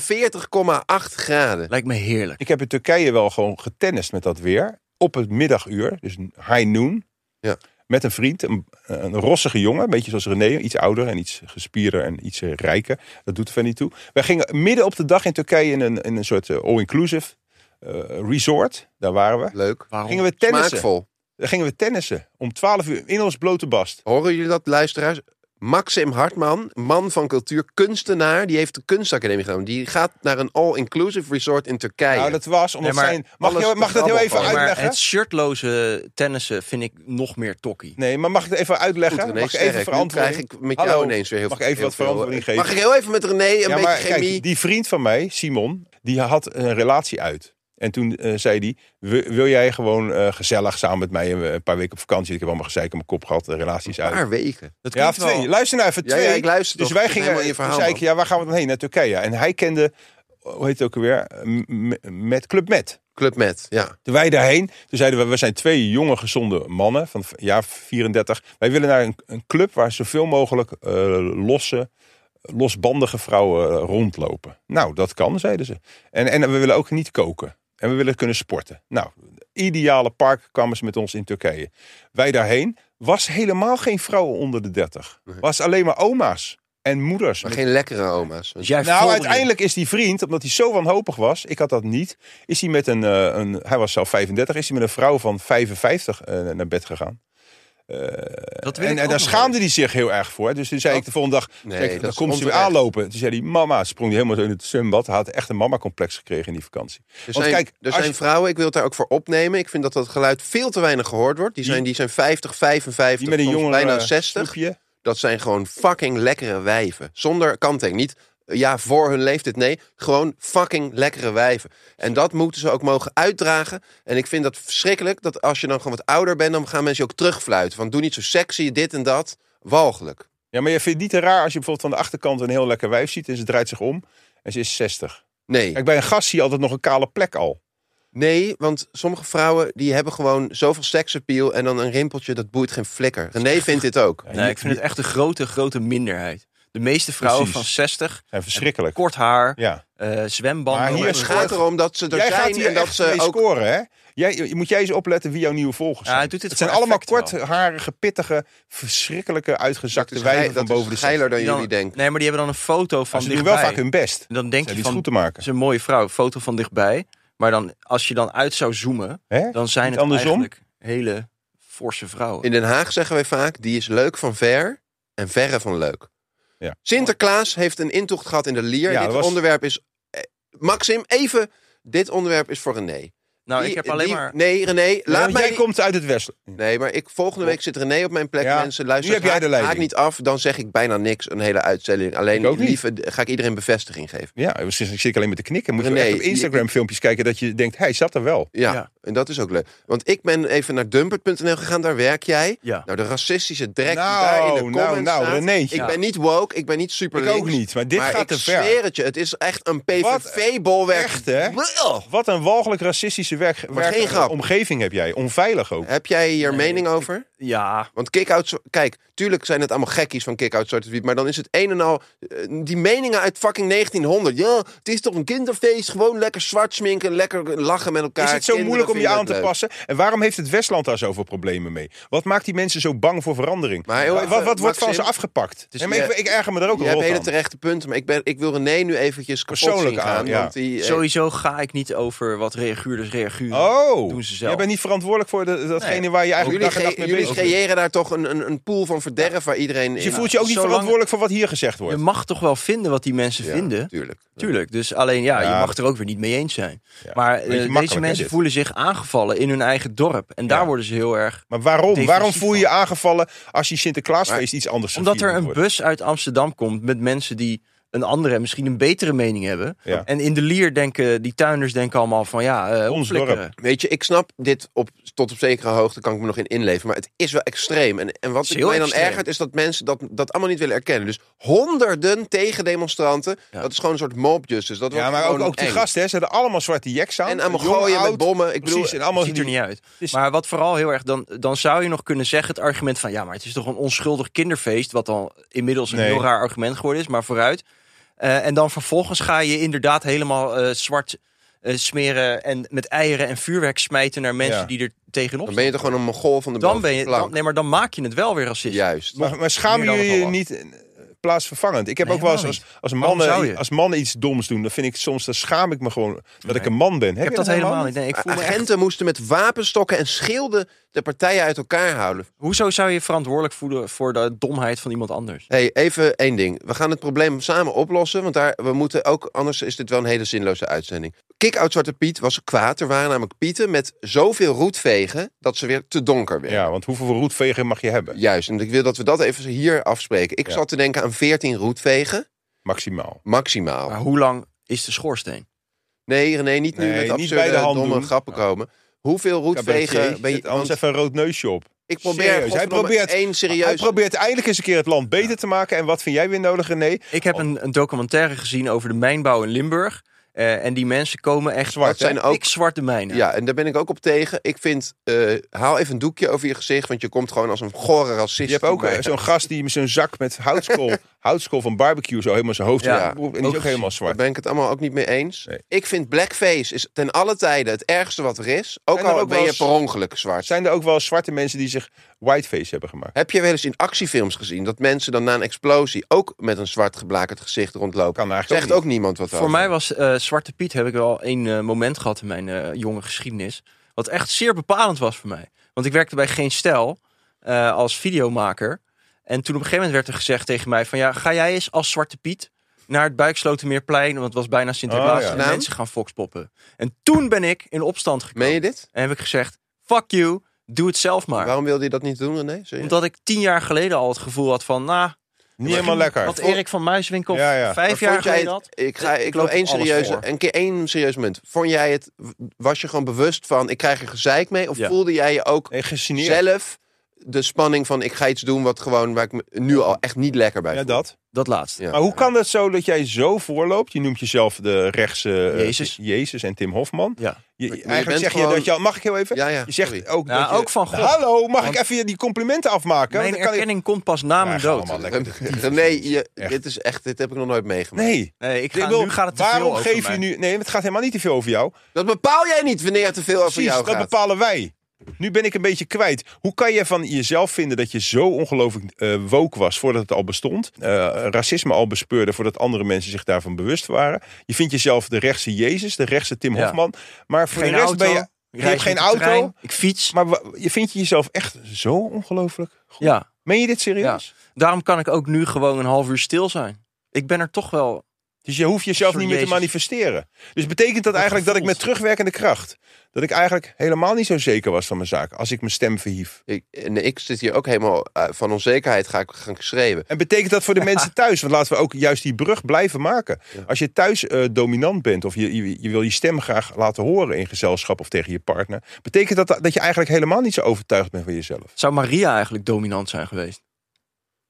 graden. Lijkt me heerlijk. Ik heb in Turkije wel gewoon getennist met dat weer. Op het middaguur, dus high noon. Ja. Met een vriend, een, een rossige jongen. Een beetje zoals René, iets ouder en iets gespierder en iets eh, rijker. Dat doet er verder niet toe. Wij gingen midden op de dag in Turkije in een, in een soort eh, all-inclusive eh, resort. Daar waren we. Leuk. Waarom? Gingen we tennissen. Smaakvol. Dan gingen we tennissen. Om 12 uur in ons blote bast. Horen jullie dat, luisteraars? Maxim Hartman, man van cultuur, kunstenaar, die heeft de kunstacademie gedaan. Die gaat naar een all-inclusive resort in Turkije. Nou, dat was omdat Nee, maar zijn... Mag, alles je, mag ik dat heel te even grabbel van. maar uitleggen? het shirtloze tennissen vind ik nog meer tokkie. Nee, maar mag ik het even uitleggen? Goed, René, mag ik sterk. even Nu verantwoording? krijg ik met Hallo, jou ineens weer heel Mag ik veel- even wat heel veel- verantwoording geven? Mag ik heel even met René een beetje chemie? Kijk, die vriend van mij, Simon, die had een relatie uit. En toen eh, zei hij, "Wi- wil jij gewoon eh, gezellig samen met mij eh, een, een paar weken op vakantie? Ik heb allemaal gezeik in mijn kop gehad, de relatie is Een uit. paar weken. Dat Ja, klinkt of wel- twee. Luister nou even, Ja, twee. ja, ik luister Dus toch. wij Ik ben gingen, helemaal in je toen verhaal, zei ik, ja, waar gaan we dan heen? Naar Turkije. En hij kende, eh, hoe heet het ook alweer, M- M- met Club Met. Club Met, ja. Toen wij daarheen, toen zeiden we, we zijn twee jonge gezonde mannen van v- jaar 34. Wij willen naar een, een club waar zoveel mogelijk eh, losse, losbandige vrouwen eh, rondlopen. Nou, dat kan, zeiden ze. En, en we willen ook niet koken. En we willen kunnen sporten. Nou, ideale park kwamen ze met ons in Turkije. Wij daarheen, was helemaal geen vrouwen onder de 30. Was alleen maar oma's en moeders. Maar met geen lekkere oma's. Dus jij nou, voelde- uiteindelijk is die vriend, omdat hij zo wanhopig was, ik had dat niet, is hij met een, eh, een hij was zelf 35, is hij met een vrouw van 55 eh, naar bed gegaan. Dat wil En, ik en ook daar nog schaamde hij zich heel erg voor. Dus toen zei ik de volgende dag, Nee, zei ik, dat dan is komt ze weer onterecht. aanlopen. Toen zei hij, mama, sprong hij helemaal zo in het zwembad. Hij had echt een mama-complex gekregen in die vakantie. Er Want zijn, kijk, er als je- zijn vrouwen, ik wil het daar ook voor opnemen. Ik vind dat dat geluid veel te weinig gehoord wordt. Die zijn, die zijn 50, 55, die met een eh, soms jongen bijna 60. Dat zijn gewoon fucking lekkere wijven. Zonder kanttekening. Niet eh, ja, voor hun leeftijd. Nee, gewoon fucking lekkere wijven. En dat moeten ze ook mogen uitdragen. En ik vind dat verschrikkelijk dat als je dan gewoon wat ouder bent, dan gaan mensen je ook terugfluiten. Van doe niet zo sexy, dit en dat. Walgelijk. Ja, maar je vindt het niet te raar als je bijvoorbeeld aan de achterkant een heel lekker wijf ziet en ze draait zich om en ze is 60. Nee. Kijk, bij een gast zie je altijd nog een kale plek al. Nee, want sommige vrouwen die hebben gewoon zoveel seksappeal en dan een rimpeltje, dat boeit geen flikker. René vindt dit ook. Nee, ik vind het echt een grote, grote minderheid. De meeste vrouwen Precies. van 60, En verschrikkelijk. kort haar, Ja. eh Maar zwembanden. hier Maar het gaat erom dat ze er Jij zijn gaat hier en dat echt mee ze ook... scoren, hè? Jij, je- moet jij eens opletten wie jouw nieuwe volgers Ja, zijn. hij doet dit het zijn voor allemaal effect wel. kortharige, pittige, verschrikkelijke, Dat uitgezakte is, wijven geil- van dat boven de is geiler zestig. dan Die dan- jullie denken. Nee, maar die hebben dan een foto van Maar Ze doen dichtbij. wel vaak hun best. En dan denk Ze je iets van, goed te dat maken. is een mooie vrouw, foto van dichtbij. Maar dan, als je dan uit zou zoomen, Hè? dan zijn Niet het andersom? eigenlijk hele forse vrouwen. In Den Haag zeggen wij vaak, die is leuk van ver en verre van leuk. Ja. Sinterklaas heeft een intocht gehad in de Lier. Ja, dit dat was- onderwerp is... eh, Maxim, even... Dit onderwerp is voor René. nou, Die- ik heb alleen die- maar... Nee, René, Ja, laat want mij... jij die- komt uit het westen. Nee, maar ik, volgende week zit René op mijn plek. Ja, Mensen, luister, nu heb jij de leiding. haak niet af. Dan zeg ik bijna niks. Een hele uitzending. Ik ook Alleen niet. liever ga ik iedereen bevestiging geven. Ja, misschien zit ik alleen met te knikken. Moet je René, echt op Instagram filmpjes kijken dat je denkt, hij zat er wel. Ja, Ja. En dat is ook leuk. Want ik ben even naar dumpert.nl gegaan, daar werk jij. Ja. Nou, de racistische drek Nou, die daar in de nou, comments nou, staat. Renéetje. Ik ben niet woke, ik ben niet super Ik ook niet, maar dit gaat ik te ver. zweer het je, het is echt een PVV-bolwerk. Echt, hè? Wat een walgelijk racistische werk, werk- geen grap. omgeving heb jij. Onveilig ook. Heb jij hier Nee, mening ik- over? Ja, Want kick-outs, kijk, tuurlijk zijn het allemaal gekkies van kick-out Zwarte Piet, maar dan is het een en al eh, die meningen uit fucking 1900. Ja, het is toch een kinderfeest, gewoon lekker zwart sminken, lekker lachen met elkaar. Is het zo Kinderen moeilijk om je vinden aan het te leuk. passen? En waarom heeft het Westland daar zoveel problemen mee? Wat maakt die mensen zo bang voor verandering? Maar heel Wa- even, wat wat wordt van ze Maxim, afgepakt? is Nee, maar meer- ik, ik erger me daar ook Je hebt rot hele aan. terechte punten, maar ik, ben, ik wil René nu eventjes kapot Persoonlijk zien gaan, aan, ja. want die, eh, sowieso ga ik niet over wat reaguurders reaguren. Oh, Doen ze zelf. jij bent niet verantwoordelijk voor de- datgene Nee. waar je eigenlijk jullie, dag en nacht ge- mee jullie bezig bent. creëren daar toch een, een, een pool van verderf waar iedereen Dus in- je voelt je ook niet Zolang- verantwoordelijk voor wat hier gezegd Je wordt. mag toch wel vinden wat die mensen Ja, vinden. Tuurlijk. Tuurlijk, dus alleen ja, Ja. je mag er ook weer niet mee eens zijn. Ja. Maar eh, Beetje makkelijk, hè, deze mensen dit? voelen zich aangevallen in hun eigen dorp. En daar Ja. worden ze heel erg... Maar waarom? Defensief Waarom voel je je aangevallen als je Sinterklaasfeest iets anders Omdat gevierd er een wordt? bus uit Amsterdam komt met mensen die een andere en misschien een betere mening hebben. Ja. En in de lier denken die tuinders denken allemaal van ja, eh Ons opflikkeren. dorp. Weet je, ik snap dit op, tot op zekere hoogte, kan ik me nog in inleven. Maar het is wel extreem. En, en is wat ik heel mij dan extreem. ergert, is dat mensen dat, dat allemaal niet willen erkennen. Dus honderden tegendemonstranten, Ja. dat is gewoon een soort mob justice. Dat Ja, wordt maar ook, gewoon ook die eng. gasten, hè, ze hadden allemaal zwarte jacks aan. En allemaal Jong, gooien met oud. bommen. Ik bedoel, Precies, en allemaal ziet er die- niet uit. is- Maar wat vooral heel erg, dan, dan zou je nog kunnen zeggen het argument van... ja, maar het is toch een onschuldig kinderfeest... wat dan inmiddels een Nee. heel raar argument geworden is, maar vooruit. Eh, en dan vervolgens ga je inderdaad helemaal eh, zwart eh, smeren... en met eieren en vuurwerk smijten naar mensen Ja. die er tegenop dan staan. ben je toch gewoon een mongool van de Dan ben je, bovenplank. dan, nee, maar dan maak je het wel weer racistisch. Juist. Maar, maar meer schamen dan jullie nogal je wat. niet eh, plaatsvervangend? Ik heb Nee, ook wel eens helemaal als, als, Waarom zou mannen, je? als mannen iets doms doen, dan vind ik soms, dan schaam ik me gewoon dat ik een man ben. Ik heb dat helemaal niet. Nee, ik voel me echt, Agenten moesten met wapenstokken en schilden de partijen uit elkaar houden. hoezo zou je je verantwoordelijk voelen voor de domheid van iemand anders? Hey, even één ding. We gaan het probleem samen oplossen, want daar, we moeten ook, anders is dit wel een hele zinloze uitzending. Kick-out Zwarte Piet was kwaad. Er waren namelijk pieten met zoveel roetvegen dat ze weer te donker werden. Ja, want hoeveel roetvegen mag je hebben? Juist, en ik wil dat we dat even hier afspreken. Ik Ja. zat te denken aan 14 roetvegen, Maximaal. maximaal. Maar hoe lang is de schoorsteen? Nee, René, niet nu Ah. Nee, met niet absurde, bij de hand domme doen. grappen komen. Hoeveel roetvegen... Ben je, anders want even een rood neusje op. ik probeer Serieus, hij godverdomme probeert- één Hij serieus... probeert eindelijk eens een keer het land beter te maken. En wat vind jij weer nodig, René? Ik Oh. heb een, een documentaire gezien over de mijnbouw in Limburg. Eh, en die mensen komen Zwart, echt zwart. Dat hè? zijn ook- zwarte mijnen. Ja, en daar ben ik ook op tegen. Ik vind, eh, haal even een doekje over je gezicht, want je komt gewoon als een gore racist. Je hebt ook eh, bij. zo'n gast die met zo'n zak met houtskool, houtskool van barbecue zo helemaal zijn hoofd Ja, ja, En die is ook ook helemaal Daar zwart. ben ik het allemaal ook niet mee eens. Nee. Ik vind blackface is ten alle tijden het ergste wat er is. Ook Zijn er al ook ben wel je eens- per ongeluk zwart. Zijn er ook wel zwarte mensen die zich whiteface hebben gemaakt? Heb je wel eens in actiefilms gezien dat mensen dan na een explosie ook met een zwart geblakerd gezicht rondlopen? Kan eigenlijk Zegt ook niemand wat Voor over. mij was eh, Zwarte Piet, heb ik wel één eh, moment gehad in mijn eh, jonge geschiedenis. Wat echt zeer bepalend was voor mij. Want ik werkte bij Geen Stijl eh, als videomaker. En toen op een gegeven moment werd er gezegd tegen mij van... ja, ga jij eens als Zwarte Piet naar het Buikslotermeerplein... want het was bijna Sinterklaas Oh, ja. en Nou? mensen gaan foxpoppen. En toen ben ik in opstand gekomen. Meen je dit? En heb ik gezegd, fuck you, doe het zelf maar. Waarom wilde je dat niet doen, René? Serieus? Omdat ik tien jaar geleden al het gevoel had van... nou, Niet helemaal lekker. Wat Erik van Muiswinkel Ja, ja. Maar vijf vond jaar jij geleden het- had. Ik, ga, Ik ik wil loop één alles serieus, voor. een keer één serieus moment. Vond jij het, was je gewoon bewust van, ik krijg er gezeik mee? Of Ja. voelde jij je ook Nee, gegeneerd. zelf de spanning van, ik ga iets doen wat gewoon, waar ik me nu al echt niet lekker bij Ja, voel? dat. Dat laatste. Ja. Maar hoe kan dat zo dat jij zo voorloopt? Je noemt jezelf de rechtse eh, Jezus. Jezus en Tim Hofman. Ja. Je, Maar je eigenlijk bent zeg je gewoon- dat je... al- Mag ik heel even? Ja, ja, Je zegt sorry. ook Nou, dat je- ook van God. Hallo, mag Want- ik even die complimenten afmaken? Mijn Want dan kan erkenning komt pas na mijn Ja, ga dood. allemaal lekker. René, je, Echt. dit is echt, dit heb ik nog nooit meegemaakt. Nee. Nee, ik Ik ga, bedoel, nu gaat het te veel waarom over geef mij. je nu... Nee, het gaat helemaal niet te veel over jou. Dat bepaal jij niet wanneer het te veel over Precies, jou dat gaat. bepalen wij. Nu ben ik een beetje kwijt. Hoe kan je van jezelf vinden dat je zo ongelooflijk eh woke was voordat het al bestond? Eh, racisme al bespeurde voordat andere mensen zich daarvan bewust waren. Je vindt jezelf de rechtse Jezus, de rechtse Tim Ja. Hofman. Maar voor Geen de rest auto, ben je... ik Je hebt reis geen met de auto. trein, ik fiets. Maar wa- je vindt je jezelf echt zo ongelooflijk goed? Ja, Meen je dit serieus? daarom kan ik ook nu gewoon een half uur stil zijn. Ik ben er toch wel... Dus je hoeft jezelf Soort niet meer te Jezus. manifesteren. Dus betekent dat eigenlijk dat ik met terugwerkende kracht. dat ik eigenlijk helemaal niet zo zeker was van mijn zaak. als ik mijn stem verhief. Ik, en ik zit hier ook helemaal eh, van onzekerheid ga ik gaan schreeuwen. En betekent dat voor de mensen thuis? Want laten we ook juist die brug blijven maken. Als je thuis eh, dominant bent of je, je, je wil je stem graag laten horen in gezelschap of tegen je partner. Betekent dat dat je eigenlijk helemaal niet zo overtuigd bent van jezelf? Zou Maria eigenlijk dominant zijn geweest?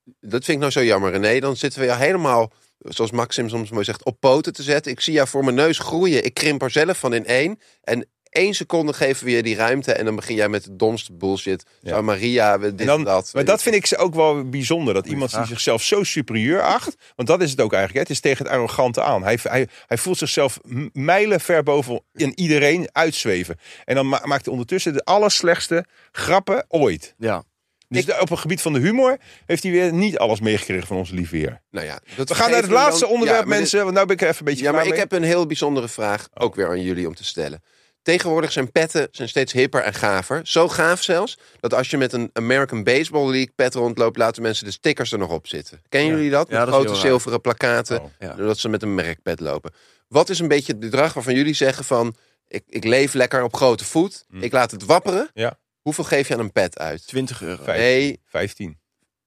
Dat vind ik nou zo jammer, René. Dan zitten we jou helemaal, zoals Maxim soms mooi zegt, op poten te zetten. Ik zie jou voor mijn neus groeien. Ik krimp er zelf van in één. En één seconde geven we je die ruimte. En dan begin jij met de domste bullshit. Ja. Zou Maria, we- dit En en dan, dat. maar dat vind ik ze ook wel bijzonder. Dat iemand die vraag. zichzelf zo superieur acht. Want dat is het ook eigenlijk. hè. Het is tegen het arrogante aan. Hij, hij, hij voelt zichzelf m- mijlen ver boven in iedereen uitzweven. En dan ma- maakt hij ondertussen de allerslechtste grappen ooit. Ja. Dus de- op het gebied van de humor heeft hij weer niet alles meegekregen van ons lief weer. Nou ja, dat We gaan naar het geven we laatste dan- onderwerp, Ja, maar dit- mensen. Want nou ben ik er even een beetje Ja, maar klaar ik mee. heb een heel bijzondere vraag ook weer aan jullie om te stellen. Tegenwoordig zijn petten zijn steeds hipper en gaver. Zo gaaf zelfs, dat als je met een American Baseball League pet rondloopt... laten mensen de stickers er nog op zitten. Kennen Ja. jullie dat? Ja, Met dat is heel grote raar. zilveren plakkaten, Oh, ja. doordat ze met een merkpet lopen. Wat is een beetje het bedrag waarvan jullie zeggen van... ik, ik leef lekker op grote voet, ik laat het wapperen. Mm. Ja. Hoeveel geef je aan een pet uit? 20 euro. Vijf. Nee, 15.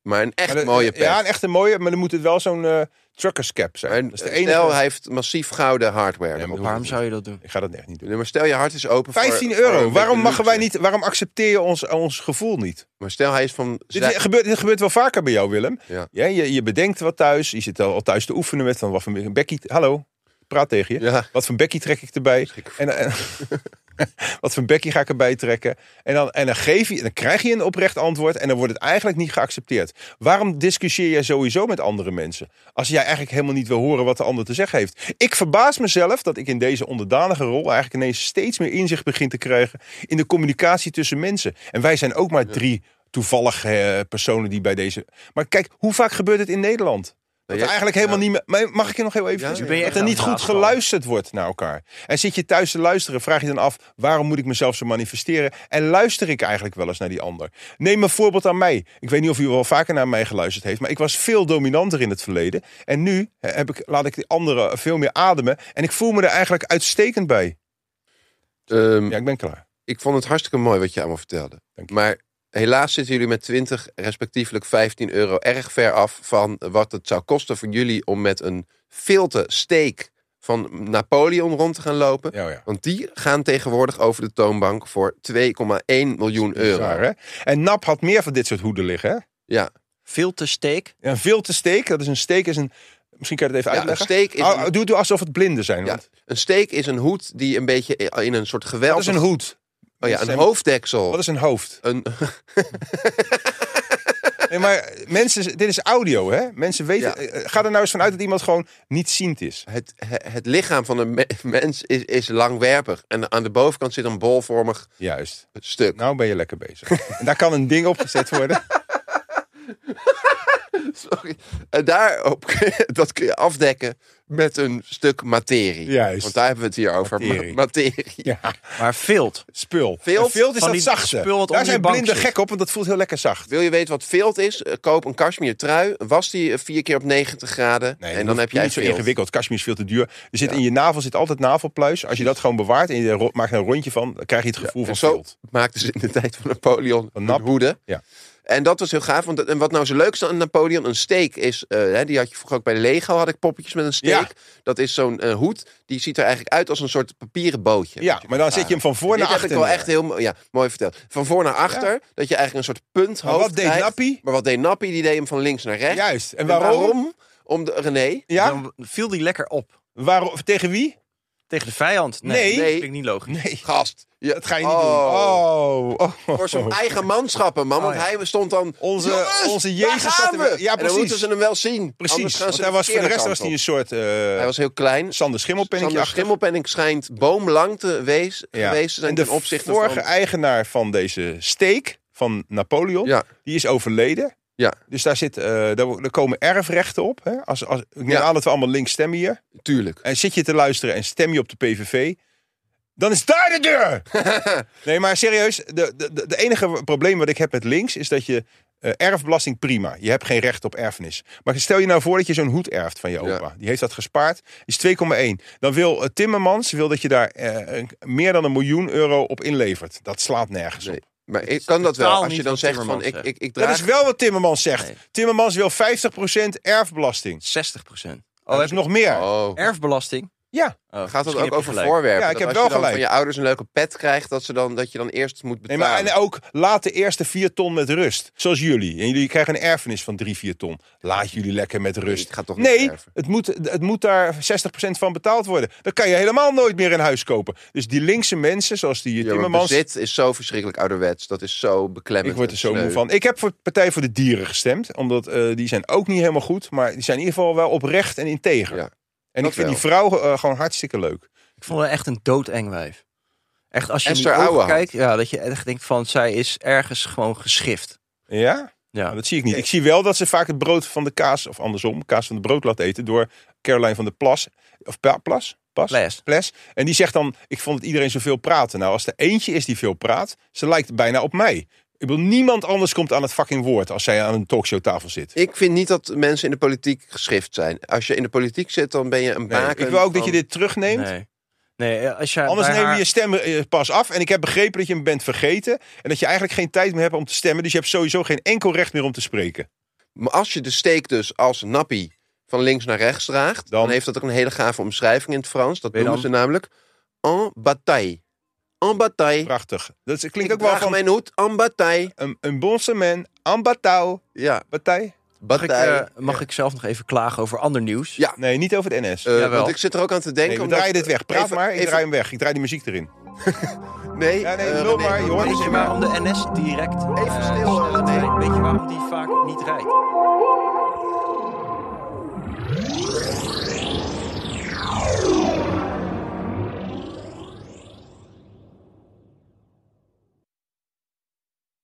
maar een echt Maar de- mooie pet. Ja, een echt een mooie. Maar dan moet het wel zo'n eh, truckerscap zijn. Maar dat is de Stel, enige. hij heeft massief gouden hardware. Ja, maar erop. Waarom zou je dat doen? Ik ga dat echt niet doen. Nee, maar stel, je hart is open voor- 15 voor een Dus euro. Waarom beetje mogen wij luxe. niet? Waarom accepteer je ons, ons gevoel niet? Maar stel, hij is van... Dit, zij- gebeurt, dit gebeurt wel vaker bij jou, Willem. Ja. je, je bedenkt wat thuis. Je zit al, al thuis te oefenen met van wat van Becky. Hallo, ik praat tegen je. Ja. Wat voor Becky trek ik erbij? En, en- wat voor Becky ga ik erbij trekken? En dan, en dan, geef je, dan krijg je een oprecht antwoord en dan wordt het eigenlijk niet geaccepteerd. Waarom discussieer jij sowieso met andere mensen? Als jij eigenlijk helemaal niet wil horen wat de ander te zeggen heeft. Ik verbaas mezelf dat ik in deze onderdanige rol eigenlijk ineens steeds meer inzicht begin te krijgen in de communicatie tussen mensen. En wij zijn ook maar drie toevallig eh, personen die bij deze. Maar kijk, hoe vaak gebeurt het in Nederland? Dat Nou, jij- er eigenlijk helemaal ja. niet meer. maar Mag ik Dus je nog heel even? Ja, zeggen? ben je dat echt er aan niet het goed haatvallen. geluisterd wordt naar elkaar. En zit je thuis te luisteren, vraag je dan af waarom moet ik mezelf zo manifesteren? En luister ik eigenlijk wel eens naar die ander? Neem een voorbeeld aan mij. Ik weet niet of u wel vaker naar mij geluisterd heeft, maar ik was veel dominanter in het verleden. En nu eh, heb ik, laat ik die anderen eh, veel meer ademen. En ik voel me er eigenlijk uitstekend bij. Ehm, Ja, ik ben klaar. Ik vond het hartstikke mooi wat je allemaal vertelde. Dank je. Maar helaas zitten jullie met 20, respectievelijk 15 euro erg ver af van wat het zou kosten voor jullie om met een filte steek van Napoleon rond te gaan lopen. Ja, ja. Want die gaan tegenwoordig over de toonbank voor 2,1 miljoen Bizar, euro. hè? En Nap had meer van dit soort hoeden liggen. Hè? Ja, Veel te steek. Ja, Een vilte steek, dat is een steek, is een. Misschien kan je het even Ja, een uitleggen. steek is Oh, een- Doe, doe alsof het blinden zijn. ja, want een steek is een hoed die een beetje in een soort geweld... dat is een hoed. Oh ja, een Zijn- hoofddeksel. Oh, Wat is een hoofd? Een, Nee, maar mensen, dit is audio, hè? Mensen weten. Ja. eh, Ga er nou eens vanuit dat iemand gewoon niet ziend is. het, het het lichaam van een me- mens is, is langwerpig. En aan de bovenkant zit een bolvormig Juist. stuk. Nou ben je lekker bezig. en daar kan een ding op gezet worden. Sorry. En daarop kun je, dat kun je afdekken met een stuk materie. Juist. Want daar hebben we het hier over. Ma- Materie. Materie. ja, Maar vilt. spul. Vilt? En vilt is Van dat die zachte. spul wat daar onder zijn je bank blinden zit. gek op, want dat voelt heel lekker zacht. Wil je weten wat vilt is? Eh, Koop een cashmere trui. Was die eh, vier keer op 90 graden. Nee, en dan heb jij niet zo vilt. ingewikkeld. Kashmir is veel te duur. Er zit Ja. in je navel zit altijd navelpluis. Als je dat gewoon bewaart en je ro- maakt er een rondje van, dan krijg je het gevoel En van zo vilt. maakten ze in de tijd van Napoleon Een een, nap. hoede. Ja. En dat was heel gaaf. Want dat- en wat nou zo leuk is aan Napoleon, een steek is... eh, hè, die had je vroeger ook bij Lego, had ik poppetjes met een steek. Ja. Dat is zo'n eh, hoed. Die ziet er eigenlijk uit als een soort papieren bootje. Ja, maar dan zit je hem van voor Dit naar heb achter. ik wel neer. echt heel mo- ja, mooi verteld. Van voor naar achter, dat je eigenlijk een soort punthoofd Maar wat deed krijgt. Nappie? Maar wat deed Nappie? Die deed hem van links naar rechts. Juist. En En waarom? waarom? Om de, René, Ja? Dan viel die lekker op. Waarom? Tegen wie? Tegen de vijand? Nee. Nee. Dat vind ik niet logisch. Nee. gast. Je, Dat ga je niet doen. Oh. oh. Voor zijn eigen manschappen, man. Want Oh, ja. hij stond dan... Onze- "Jongens, onze daar Jezus gaan staat er wel- we." Ja, En precies. dan moeten ze hem wel zien. Anders Precies, gaan want ze hij was voor de verkeerde rest was kant hij een op. soort eh, Hij was heel klein. Sander Schimmelpennetje Sander achter. Schimmelpenning schijnt boomlang te wees, Ja. geweest te zijn En de ten opzichte vorige van... eigenaar van deze steek van Napoleon, Ja. die is overleden. Ja. Dus daar, zit, eh, daar, wo- daar komen erfrechten op. Hè? Als, als, ik neem Ja. aan dat we allemaal links stemmen hier. Tuurlijk. En zit je te luisteren en stem je op de PVV, dan is daar de deur! nee, maar serieus, de, de, de, de enige probleem wat ik heb met links is dat je Eh, erfbelasting prima. Je hebt geen recht op erfenis. Maar stel je nou voor dat je zo'n hoed erft van je opa. Ja. Die heeft dat gespaard. Is 2,1. Dan wil eh, Timmermans wil dat je daar eh, een- meer dan een miljoen euro op inlevert. Dat slaat nergens Nee, op. Maar ik is kan dat wel. totaal Als je niet dan wat zegt van Timmermans ik, zegt. ik, ik Dat draag... is wel wat Timmermans zegt. Nee. Timmermans wil 50% erfbelasting. 60 procent. Oh, Oh, dat is heb nog meer. Oh. erfbelasting? Ja. Oh, Gaat dat misschien ook heb je over gelijk. voorwerpen? Ja, ik Dat heb als wel je dan gelijk. van je ouders een leuke pet krijgt, dat, ze dan, dat je dan eerst moet Nee, betalen. maar, en oh, ook, laat de eerste 4 ton met rust. Zoals jullie. En jullie krijgen een erfenis van 3, 4 ton. Laat jullie lekker met rust. Ik ga toch niet Nee, erven. het moet, het moet daar 60% van betaald worden. Dan kan je helemaal nooit meer een huis kopen. Dus die linkse mensen, zoals die Ja, maar Timmermans... bezit is zo verschrikkelijk ouderwets. Dat is zo beklemmend. ik word er en zo moe sneu. van. Ik heb voor Partij voor de Dieren gestemd. Omdat eh, die zijn ook niet helemaal goed. Maar die zijn in ieder geval wel oprecht en integer. Ja, en ik dat vind die wel. vrouw eh, gewoon hartstikke leuk. Ik vond haar echt een doodeng wijf. Echt, als je in die Esther ogen Ouwehand. kijkt, ja, dat je echt denkt van, zij is ergens gewoon geschift. Ja? Ja. Nou, dat zie ik niet. Ik zie wel dat ze vaak het brood van de kaas, of andersom, kaas van de brood laat eten door Caroline van der Plas. Of Pa- Plas? Pas? Ples. En die zegt dan, ik vond dat iedereen zoveel praatte. Nou, als er eentje is die veel praat, ze lijkt bijna op mij. Ik bedoel, niemand anders komt aan het fucking woord als zij aan een talkshowtafel zit. Ik vind niet dat mensen in de politiek geschift zijn. Als je in de politiek zit, dan ben je een Nee, baken ik wil ook dat van- je dit terugneemt. Nee. Nee, eh, als je Anders bij neem je haar- je stem eh, pas af. En ik heb begrepen dat je hem bent vergeten. En dat je eigenlijk geen tijd meer hebt om te stemmen. Dus je hebt sowieso geen enkel recht meer om te spreken. Maar als je de steek dus als nappie van links naar rechts draagt, dan, Dan- heeft dat ook een hele gave omschrijving in het Frans. Dat Ben je noemen ze namelijk en bataille. En bataille. Prachtig. Dat is- Ik klinkt ook wel draag van mijn hoed en bataille. een, een bonse man, een batau. Ja, Partij? Mag, ik, bataille. eh, mag ik zelf nog even klagen over ander nieuws? Ja. Nee, niet over het NS. Eh, jawel. want ik zit er ook aan te denken. nee, we omdat- draaien dit weg. Praat Even- maar, ik even- draai hem weg. Ik draai die muziek erin. Nee, Ja, nee, eh, lul René, maar, je hoort René, het Weet je waarom de NS direct Even eh, stil, snelle René. trein- Weet je waarom die vaak niet rijdt?